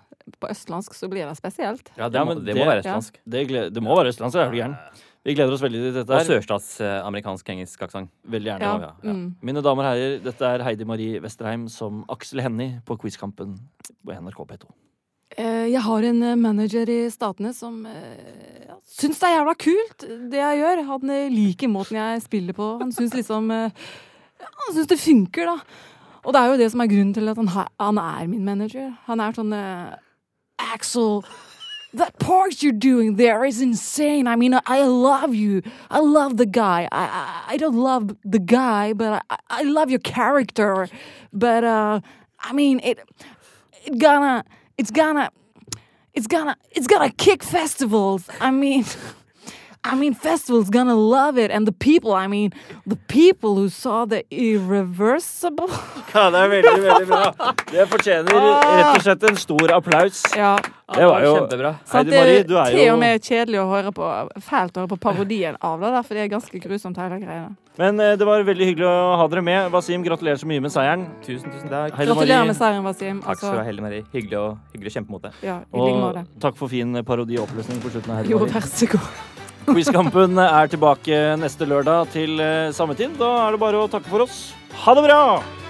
på østlandsk, så blir det spesielt.
Ja, det,
Ja,
må,
men
det må være
det-
østlandsk.
det, gled, det må være østlandsk, er du gæren? Vi gleder oss veldig til dette.
Og
her
sørstatsamerikansk engelsk aksent.
Veldig gjerne.
Ja.
Ja, ja.
Mm.
Mine damer og herrer, dette er Heidi Marie Westerheim som Aksel Hennie på Quizkampen på NRK P2.
Eh, Jeg har en eh, manager i Statene som eh, ja, syns det er jævla kult, det jeg gjør. Han eh, liker måten jeg spiller på. Han syns liksom eh, ja, Han syns det funker, da. Og det er jo det som er grunnen til at han, ha- han er min manager. Han er sånn eh, Axel That part you're doing there is insane. I mean, I love you. I love the guy. I I, I don't love the guy, but I, I love your character. But uh, I mean, it it gonna it's gonna it's gonna it's gonna kick festivals. I mean. *laughs* I mean, festivals gonna love it, and the people. I mean, the people who saw the irreversible.
Ja, det er veldig, veldig bra. Det fortjener
Ah.
rett og slett en stor applaus.
*laughs* Ja,
Det var jo
Kjempebra.
sant,
Heidi
det
Marie,
er
du er
til og
jo
med kjedelig å høre på, fælt å høre på parodien av det, der, for det er ganske grusomt hele greiene.
Men eh, det var veldig hyggelig å ha dere med. Wasim, gratulerer så mye med seieren.
Tusen, tusen takk.
Heidi Marie.
Gratulerer med seieren, Wasim.
Takk skal du ha,
Altså,
Helle Marie. Hyggelig å, hyggelig å kjempe mot deg.
ja, I like
Og
måte.
takk for fin parodi og oppløsning på slutten. her.
Jo, vær så god.
Quizkampen er tilbake neste lørdag til eh, samme tid. Da er det bare å takke for oss. Ha det bra!